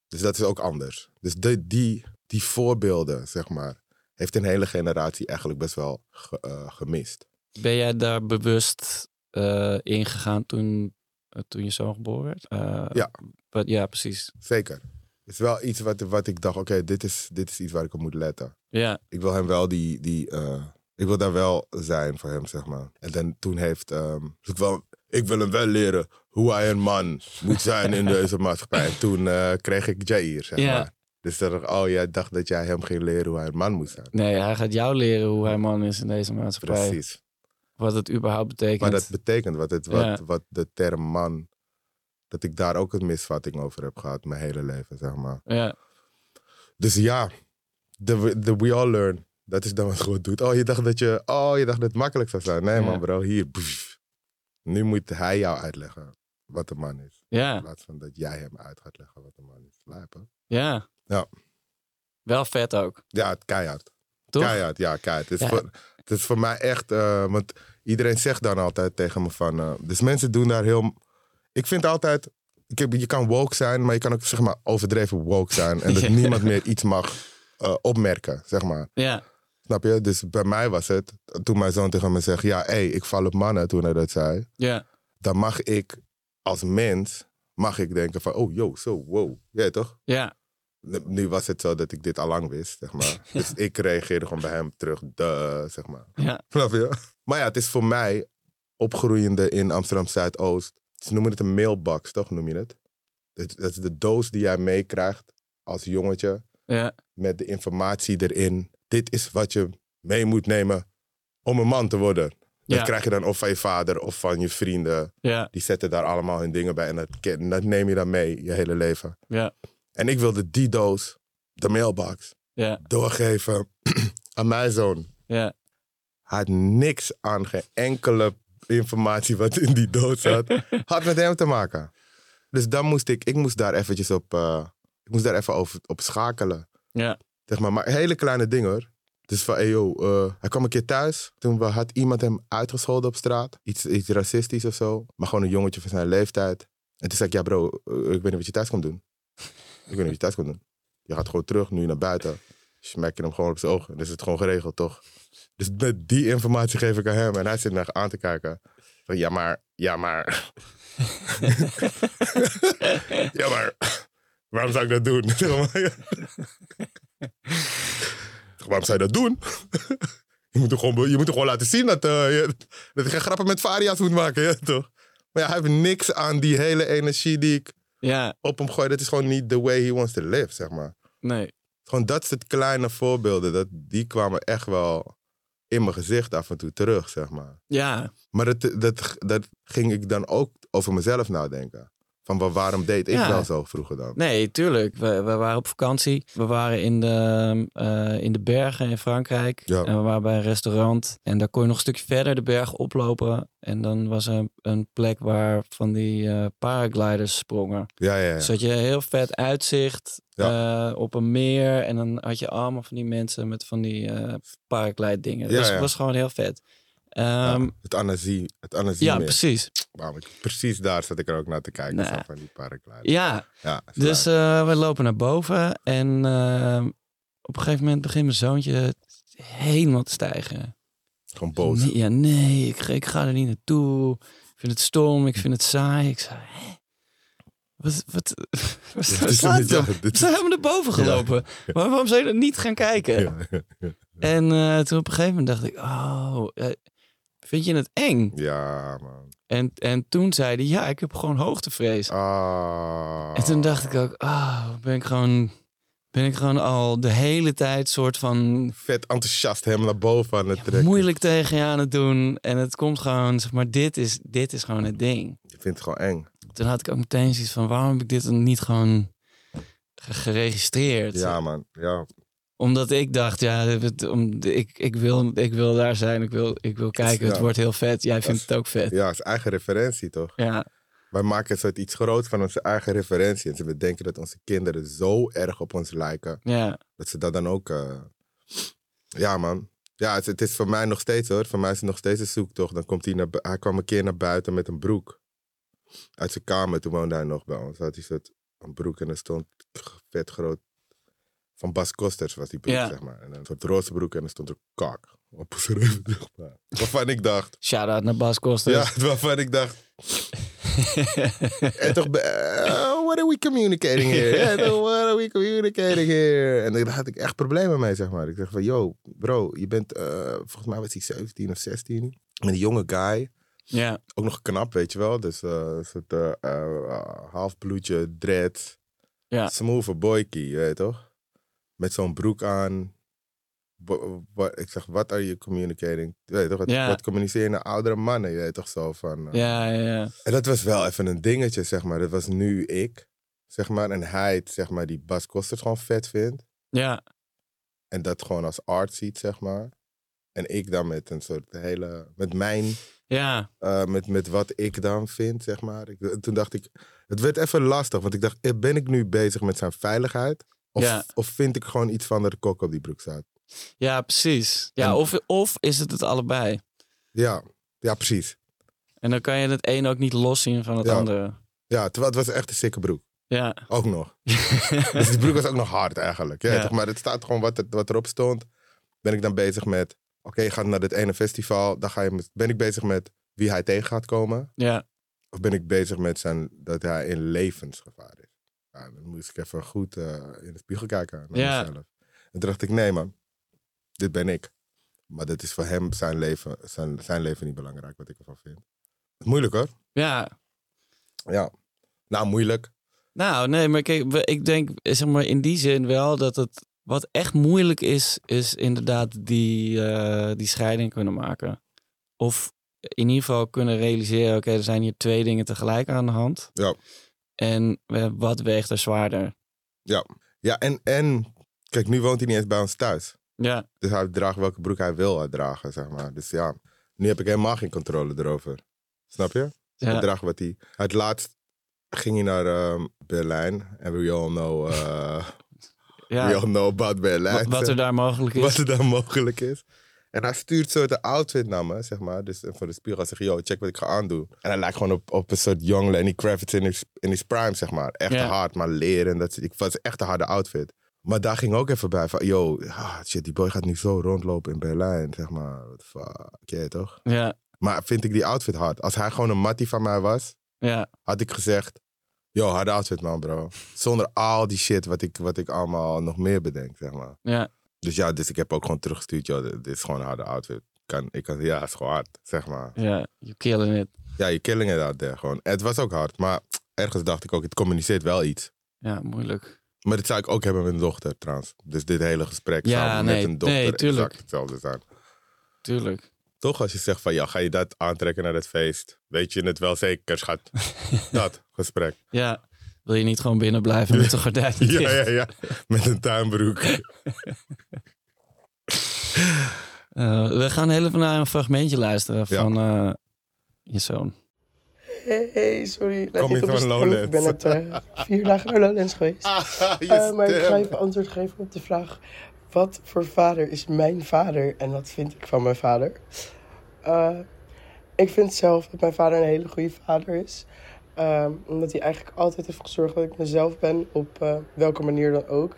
[SPEAKER 3] Dus dat is ook anders. Dus de, die, die voorbeelden, zeg maar, heeft een hele generatie eigenlijk best wel ge- eh, gemist.
[SPEAKER 1] Ben jij daar bewust eh, ingegaan toen, eh, toen je zoon geboren werd? Eh,
[SPEAKER 3] Ja.
[SPEAKER 1] wat- ja, precies.
[SPEAKER 3] Zeker. Het is wel iets wat, wat ik dacht, oké, dit, is, dit is iets waar ik op moet letten.
[SPEAKER 1] Ja,
[SPEAKER 3] ik wil hem wel die. die eh, ik wil daar wel zijn voor hem, zeg maar. En dan, toen heeft. ehm, dus ik, wil, ik wil hem wel leren hoe hij een man moet zijn in deze maatschappij. En toen eh, kreeg ik Jair, zeg
[SPEAKER 1] Ja.
[SPEAKER 3] maar. Dus dat ik, oh, jij dacht dat jij hem ging leren hoe hij een man moet zijn.
[SPEAKER 1] nee, hij gaat jou leren hoe hij man is in deze maatschappij.
[SPEAKER 3] Precies.
[SPEAKER 1] Wat het überhaupt betekent.
[SPEAKER 3] Maar dat betekent wat, het, wat,
[SPEAKER 1] Ja.
[SPEAKER 3] wat de term man. Dat ik daar ook een misvatting over heb gehad mijn hele leven, zeg maar.
[SPEAKER 1] ja,
[SPEAKER 3] Dus ja, de, de we all learn. Dat is dan wat God doet. Oh, je dacht dat je, oh, je dacht dat het makkelijk zou zijn. Nee,
[SPEAKER 1] Ja.
[SPEAKER 3] man, bro, hier. pff. Nu moet hij jou uitleggen wat een man is. In
[SPEAKER 1] ja,
[SPEAKER 3] plaats van dat jij hem uit gaat leggen wat een man is. Lijpen.
[SPEAKER 1] ja.
[SPEAKER 3] Ja.
[SPEAKER 1] Wel vet ook,
[SPEAKER 3] Ja, keihard.
[SPEAKER 1] toch?
[SPEAKER 3] Keihard, ja, keihard. Het is,
[SPEAKER 1] Ja.
[SPEAKER 3] Voor, het is voor mij echt, eh, want iedereen zegt dan altijd tegen me van. eh, dus mensen doen daar heel. Ik vind altijd. Ik heb, je kan woke zijn, maar je kan ook zeg maar overdreven woke zijn. En dat
[SPEAKER 1] Ja.
[SPEAKER 3] niemand meer iets mag eh, opmerken, zeg maar.
[SPEAKER 1] Ja,
[SPEAKER 3] Snap je? Dus bij mij was het, toen mijn zoon tegen me zegt, ja, hé, ik val op mannen, toen hij dat zei.
[SPEAKER 1] ja,
[SPEAKER 3] Dan mag ik als mens, mag ik denken van, oh, yo, zo, wow. Jij toch?
[SPEAKER 1] ja,
[SPEAKER 3] Nu- Nu was het zo dat ik dit al lang wist, zeg maar. Dus ik reageerde gewoon bij hem terug, duh, zeg maar.
[SPEAKER 1] ja,
[SPEAKER 3] Snap je? Maar ja, het is voor mij, opgroeiende in Amsterdam Zuidoost, ze noemen het een mailbox, toch noem je het? Dat dat is de doos die jij meekrijgt als jongetje
[SPEAKER 1] ja,
[SPEAKER 3] met de informatie erin. Dit is wat je mee moet nemen om een man te worden. Dat
[SPEAKER 1] Ja.
[SPEAKER 3] krijg je dan of van je vader of van je vrienden.
[SPEAKER 1] ja,
[SPEAKER 3] Die zetten daar allemaal hun dingen bij. En dat, ken- dat neem je dan mee je hele leven.
[SPEAKER 1] ja,
[SPEAKER 3] En ik wilde die doos, de mailbox,
[SPEAKER 1] ja,
[SPEAKER 3] doorgeven aan mijn zoon.
[SPEAKER 1] ja,
[SPEAKER 3] Hij had niks aan geen enkele informatie wat in die doos zat. Had met hem te maken. Dus dan moest ik, ik moest daar eventjes op, eh, ik moest daar even over, op schakelen.
[SPEAKER 1] ja,
[SPEAKER 3] Zeg maar, maar hele kleine dingen hoor. Dus van, hey yo, eh, hij kwam een keer thuis. Toen we- had iemand hem uitgescholden op straat. Iets, iets racistisch of zo. Maar gewoon een jongetje van zijn leeftijd. En toen zei ik, ja bro, eh, ik weet niet wat je thuis komt doen. ik weet niet wat je thuis komt doen. Je gaat gewoon terug, nu naar buiten. Smek je hem gewoon op zijn ogen. Dus is het gewoon geregeld, toch? Dus met die informatie geef ik aan hem. En hij zit naar aan te kijken. Van, ja maar, ja maar. ja maar, waarom zou ik dat doen? Waarom zou je dat doen? je, moet er gewoon, be- je moet er gewoon laten zien dat, eh, je, dat je geen grappen met varia's moet maken, ja, toch? Maar ja, hij heeft niks aan die hele energie die ik
[SPEAKER 1] Ja,
[SPEAKER 3] op hem gooi. Dat is gewoon niet the way he wants to live, zeg maar.
[SPEAKER 1] nee.
[SPEAKER 3] Gewoon dat soort kleine voorbeelden, dat, die kwamen echt wel in mijn gezicht af en toe terug, zeg maar.
[SPEAKER 1] Ja,
[SPEAKER 3] Maar dat, dat, dat ging ik dan ook over mezelf nadenken. Van wa- waarom deed ik
[SPEAKER 1] Ja.
[SPEAKER 3] wel zo vroeger dan?
[SPEAKER 1] nee, tuurlijk. We, we waren op vakantie. We waren in de, eh, in de bergen in Frankrijk.
[SPEAKER 3] Ja.
[SPEAKER 1] En we waren bij een restaurant. En daar kon je nog een stukje verder de berg oplopen. En dan was er een, een plek waar van die eh, paragliders sprongen.
[SPEAKER 3] Ja, ja,
[SPEAKER 1] Dus
[SPEAKER 3] ja.
[SPEAKER 1] had je heel vet uitzicht eh, op een meer. En dan had je allemaal van die mensen met van die eh paraglijdingen. Dat
[SPEAKER 3] Ja,
[SPEAKER 1] was,
[SPEAKER 3] ja.
[SPEAKER 1] was gewoon heel vet. Ehm,
[SPEAKER 3] Ja,
[SPEAKER 1] ja,
[SPEAKER 3] het anasie, het anasie meer.
[SPEAKER 1] precies.
[SPEAKER 3] Waarom ik- precies daar zat ik er ook naar te kijken,
[SPEAKER 1] Nou.
[SPEAKER 3] zo van die paragliders.
[SPEAKER 1] Ja,
[SPEAKER 3] Ja,
[SPEAKER 1] dus eh, we lopen naar boven. En eh, op een gegeven moment begint mijn zoontje helemaal te stijgen.
[SPEAKER 3] Gewoon boos.
[SPEAKER 1] Nee, ja, nee, ik, ga- ik ga er niet naartoe. Ik vind het stom, ik vind het saai. Ik zei, hè? Wat, wat, wat
[SPEAKER 3] Dit
[SPEAKER 1] wat
[SPEAKER 3] is
[SPEAKER 1] staat
[SPEAKER 3] een- ja,
[SPEAKER 1] er?
[SPEAKER 3] dit
[SPEAKER 1] We
[SPEAKER 3] is-
[SPEAKER 1] zijn helemaal naar boven gelopen. Maar waarom zou je dat niet gaan kijken?
[SPEAKER 3] Ja,
[SPEAKER 1] En eh, toen op een gegeven moment dacht ik, oh, eh, vind je het eng?
[SPEAKER 3] ja, man.
[SPEAKER 1] En, en toen zei hij, ja, ik heb gewoon hoogtevrees.
[SPEAKER 3] Ah.
[SPEAKER 1] En toen dacht ik ook, ah, ben ik gewoon, ben ik gewoon al de hele tijd soort van
[SPEAKER 3] Vet enthousiast hem naar boven aan het trekken.
[SPEAKER 1] moeilijk tegen je aan het doen. En het komt gewoon, zeg maar, dit is, dit is gewoon het ding.
[SPEAKER 3] Je vindt het gewoon eng.
[SPEAKER 1] Toen had ik ook meteen zoiets van, waarom heb ik dit dan niet gewoon ge- geregistreerd?
[SPEAKER 3] Ja, man. Ja.
[SPEAKER 1] Omdat ik dacht, ja, het- om, ik, ik, wil, ik wil daar zijn, ik wil, ik wil kijken, het
[SPEAKER 3] Ja.
[SPEAKER 1] wordt heel vet. Jij vindt het ook vet.
[SPEAKER 3] ja, is eigen referentie, toch?
[SPEAKER 1] Ja,
[SPEAKER 3] Wij maken een soort iets groots van onze eigen referentie. En ze bedenken dat onze kinderen zo erg op ons lijken.
[SPEAKER 1] ja,
[SPEAKER 3] Dat ze dat dan ook... eh, Ja, man. Ja, het, het is voor mij nog steeds, hoor. Voor mij is het nog steeds een zoektocht. Dan komt hij, naar, bu- hij kwam een keer naar buiten met een broek. Uit zijn kamer, toen woonde hij nog bij ons. Had hij soort een broek en er stond vet groot... Van Bas Kosters was die broek,
[SPEAKER 1] Ja.
[SPEAKER 3] zeg maar. En een soort roze broek en er stond een kak op zijn rug, zeg maar. Waarvan ik dacht...
[SPEAKER 1] shout-out naar Bas Koster.
[SPEAKER 3] Ja, waarvan ik dacht... En toch, be- eh, what are we communicating here? Ja, toch, what are we communicating here? En daar had ik echt problemen mee, zeg maar. Ik dacht van, yo, bro, je bent, eh, volgens mij was hij 17 of 16. Een jonge guy,
[SPEAKER 1] ja,
[SPEAKER 3] ook nog knap, weet je wel. Dus eh, een soort eh, eh, halfbloedje, dread,
[SPEAKER 1] Ja.
[SPEAKER 3] smooth boykie, je weet toch? Met zo'n broek aan. Bo- wa- ik zeg, wat are you communicating? Je Weet toch, wat,
[SPEAKER 1] Ja.
[SPEAKER 3] wat communiceer je naar oudere mannen, je weet toch zo van... eh,
[SPEAKER 1] ja, ja, ja.
[SPEAKER 3] en dat was wel even een dingetje, zeg maar. Dat was nu ik, zeg maar. En hij, het, zeg maar, die Bas Kosters gewoon vet vindt.
[SPEAKER 1] ja.
[SPEAKER 3] En dat gewoon als art ziet, zeg maar. En ik dan met een soort hele... Met mijn...
[SPEAKER 1] ja.
[SPEAKER 3] eh, met, met wat ik dan vind, zeg maar. Ik, toen dacht ik... Het werd even lastig, want ik dacht... eh, Ben ik nu bezig met zijn veiligheid? Of,
[SPEAKER 1] Ja.
[SPEAKER 3] of vind ik gewoon iets van dat de kok op die broek staat?
[SPEAKER 1] Ja, precies. Ja,
[SPEAKER 3] En-
[SPEAKER 1] of, of is het het allebei.
[SPEAKER 3] Ja, ja precies.
[SPEAKER 1] En dan kan je het een ook niet loszien van het
[SPEAKER 3] Ja.
[SPEAKER 1] andere.
[SPEAKER 3] Ja, terwijl het was echt een sikke broek.
[SPEAKER 1] Ja.
[SPEAKER 3] Ook nog. dus die broek was ook nog hard eigenlijk. Ja,
[SPEAKER 1] Ja.
[SPEAKER 3] Toch? Maar het staat gewoon wat, er, wat erop stond. Ben ik dan bezig met, oké, je gaat naar dit ene festival. Dan ga je, met- ben ik bezig met wie hij tegen gaat komen?
[SPEAKER 1] ja,
[SPEAKER 3] Of ben ik bezig met zijn, dat hij in levensgevaar is? Ja, dan moest ik even goed eh, in de spiegel kijken naar
[SPEAKER 1] Ja.
[SPEAKER 3] mezelf. En toen dacht ik, nee man, dit ben ik. Maar dat is voor hem zijn leven, zijn, zijn leven niet belangrijk, wat ik ervan vind. Moeilijk hoor.
[SPEAKER 1] ja.
[SPEAKER 3] Ja. Nou, moeilijk.
[SPEAKER 1] Nou, nee, maar kijk, we- ik denk zeg maar in die zin wel dat het. Wat echt moeilijk is, is inderdaad die, eh, die scheiding kunnen maken. Of in ieder geval kunnen realiseren: oké, er zijn hier twee dingen tegelijk aan de hand.
[SPEAKER 3] Ja.
[SPEAKER 1] En eh, wat weegt er zwaarder?
[SPEAKER 3] Ja, en, en kijk, nu woont hij niet eens bij ons thuis.
[SPEAKER 1] Ja,
[SPEAKER 3] Dus hij draagt welke broek hij wil dragen, zeg maar. Dus ja, nu heb ik helemaal geen controle erover. Snap je?
[SPEAKER 1] Ja.
[SPEAKER 3] Hij draagt wat hij... Het laatst ging hij naar ehm, Berlijn. En we all know... eh, We
[SPEAKER 1] ja,
[SPEAKER 3] all know about
[SPEAKER 1] wat,
[SPEAKER 3] Berlijn.
[SPEAKER 1] wat er daar mogelijk
[SPEAKER 3] wat
[SPEAKER 1] is.
[SPEAKER 3] er dan mogelijk is. En hij stuurt zo de outfit naar me, zeg maar. Dus voor de spiegel zeg yo, check wat ik ga aandoen. En hij lijkt gewoon op, op een soort jong Lenny Kravitz in his, in his prime, zeg maar. Echt
[SPEAKER 1] Ja.
[SPEAKER 3] hard, maar leren. en Dat, soort- ik vond het echt een harde outfit. Maar daar ging ook even bij van, yo, ah, shit, die boy gaat nu zo rondlopen in Berlijn, zeg maar. What the fuck, yeah, toch?
[SPEAKER 1] Ja,
[SPEAKER 3] Maar vind ik die outfit hard? Als hij gewoon een mattie van mij was,
[SPEAKER 1] ja,
[SPEAKER 3] had ik gezegd, yo, harde outfit, man, bro. Zonder al die shit wat ik, wat ik allemaal nog meer bedenk, zeg maar.
[SPEAKER 1] ja.
[SPEAKER 3] Dus ja, dus ik heb ook gewoon teruggestuurd, joh, dit dit is gewoon een harde outfit. Kan, ik kan, ja, het is gewoon hard, zeg maar.
[SPEAKER 1] Ja, you killing it.
[SPEAKER 3] Ja, je killing it out there gewoon. Het was ook hard, maar ergens dacht ik ook, het communiceert wel iets.
[SPEAKER 1] Ja, moeilijk.
[SPEAKER 3] Maar dat zou ik ook hebben met een dochter, trouwens. Dus dit hele gesprek
[SPEAKER 1] Ja,
[SPEAKER 3] zou
[SPEAKER 1] nee,
[SPEAKER 3] met een dochter
[SPEAKER 1] nee, tuurlijk.
[SPEAKER 3] exact hetzelfde zijn.
[SPEAKER 1] Tuurlijk.
[SPEAKER 3] Toch als je zegt van, ja, ga je dat aantrekken naar het feest? Weet je het wel zeker, schat? dat gesprek.
[SPEAKER 1] Ja, wil je niet gewoon binnen blijven met de gordijnen dicht?
[SPEAKER 3] Ja, ja, ja. Met een tuinbroek.
[SPEAKER 1] Eh, we gaan heel even naar een fragmentje luisteren
[SPEAKER 3] Ja.
[SPEAKER 1] van eh, je zoon.
[SPEAKER 4] Hey, hey, sorry. Lijkt
[SPEAKER 3] Kom
[SPEAKER 4] niet
[SPEAKER 3] je
[SPEAKER 4] op
[SPEAKER 3] van
[SPEAKER 4] de stroop. Ik ben
[SPEAKER 3] Lowlands?
[SPEAKER 4] net eh, vier dagen naar Lowlands geweest.
[SPEAKER 3] Ah,
[SPEAKER 4] Eh, maar ik ga even antwoord geven op de vraag. Wat voor vader is mijn vader en wat vind ik van mijn vader? Eh, ik vind zelf dat mijn vader een hele goede vader is. Ehm, omdat hij eigenlijk altijd heeft gezorgd dat ik mezelf ben, op eh, welke manier dan ook.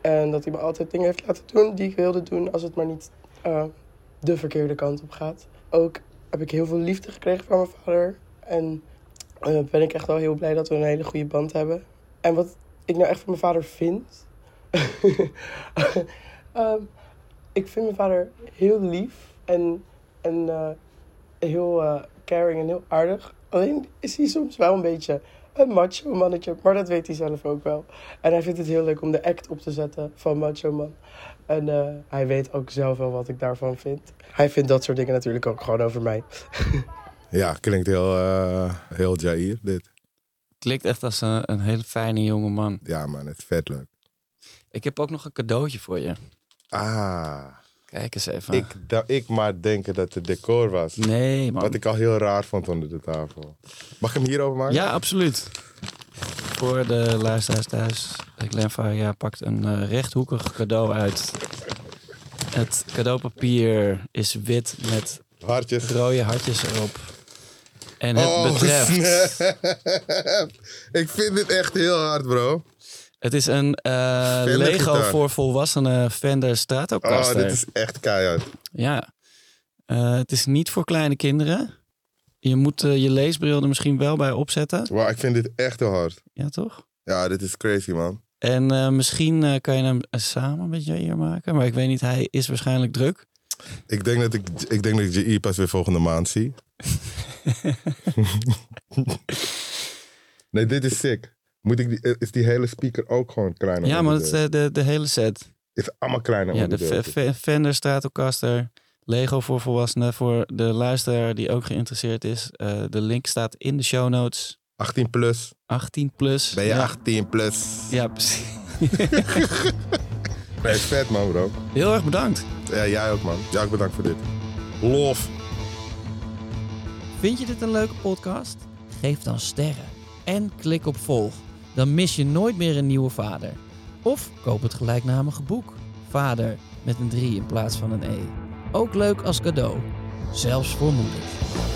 [SPEAKER 4] En dat hij me altijd dingen heeft laten doen die ik wilde doen, als het maar niet eh, de verkeerde kant op gaat. Ook heb ik heel veel liefde gekregen van mijn vader. En eh, ben ik echt wel heel blij dat we een hele goede band hebben. En wat ik nou echt van mijn vader vind. Ehm, ik vind mijn vader heel lief en, en eh, heel eh, caring en heel aardig. Alleen is hij soms wel een beetje een macho mannetje, maar dat weet hij zelf ook wel. En hij vindt het heel leuk om de act op te zetten van macho man. En eh, hij weet ook zelf wel wat ik daarvan vind. Hij vindt dat soort dingen natuurlijk ook gewoon over mij.
[SPEAKER 3] Ja, klinkt heel, eh, heel Jair, dit.
[SPEAKER 1] Klinkt echt als eh, een, een hele fijne jonge man.
[SPEAKER 3] Ja, man, het is vet leuk.
[SPEAKER 1] Ik heb ook nog een cadeautje voor je.
[SPEAKER 3] Ah,
[SPEAKER 1] Kijk eens even.
[SPEAKER 3] ik, da- ik maar denken dat het decor was.
[SPEAKER 1] Nee, man.
[SPEAKER 3] Wat ik al heel raar vond onder de tafel. Mag ik hem hierover maken?
[SPEAKER 1] Ja, absoluut. Voor de luisteraars thuis. Glenvaria pakt een eh, rechthoekig cadeau uit. Het cadeaupapier is wit met
[SPEAKER 3] Hartjes.
[SPEAKER 1] rode hartjes erop. En het
[SPEAKER 3] Oh,
[SPEAKER 1] betreft...
[SPEAKER 3] snap. Ik vind dit echt heel hard, bro.
[SPEAKER 1] Het is een eh,
[SPEAKER 3] Fender
[SPEAKER 1] Lego
[SPEAKER 3] gitaar.
[SPEAKER 1] voor volwassenen Fender
[SPEAKER 3] Oh,
[SPEAKER 1] Stratocaster.
[SPEAKER 3] dit is echt keihard.
[SPEAKER 1] Ja. Eh, het is niet voor kleine kinderen. Je moet eh, je leesbril er misschien wel bij opzetten.
[SPEAKER 3] Wow, ik vind dit echt heel hard.
[SPEAKER 1] Ja, toch?
[SPEAKER 3] Ja, dit is crazy, man.
[SPEAKER 1] En eh, misschien eh, kan je hem eh, samen met Jair maken. Maar ik weet niet, hij is waarschijnlijk druk.
[SPEAKER 3] Ik denk dat ik, ik, denk dat ik JE pas weer volgende maand zie. nee, dit is sick. Moet ik die, is die hele speaker ook gewoon kleiner?
[SPEAKER 1] ja, maar het is eh, de, de hele set.
[SPEAKER 3] is allemaal kleiner.
[SPEAKER 1] Ja, de Fe-
[SPEAKER 3] onderdeeltjes.
[SPEAKER 1] Fe- Fender Stratocaster. Lego voor volwassenen. Voor de luisteraar die ook geïnteresseerd is. eh, de link staat in de show notes.
[SPEAKER 3] 18 plus.
[SPEAKER 1] 18 plus.
[SPEAKER 3] Ben je
[SPEAKER 1] ja.
[SPEAKER 3] 18 plus?
[SPEAKER 1] Ja, precies.
[SPEAKER 3] Nee, is vet, man, bro.
[SPEAKER 1] Heel erg bedankt.
[SPEAKER 3] Ja, jij ook, man. Jij ook bedankt voor dit. Lof.
[SPEAKER 5] Vind je dit een leuke podcast? Geef dan sterren en klik op volg. Dan mis je nooit meer een nieuwe vader. Of koop het gelijknamige boek. Vader met een 3 in plaats van een E. Ook leuk als cadeau. Zelfs voor moeders.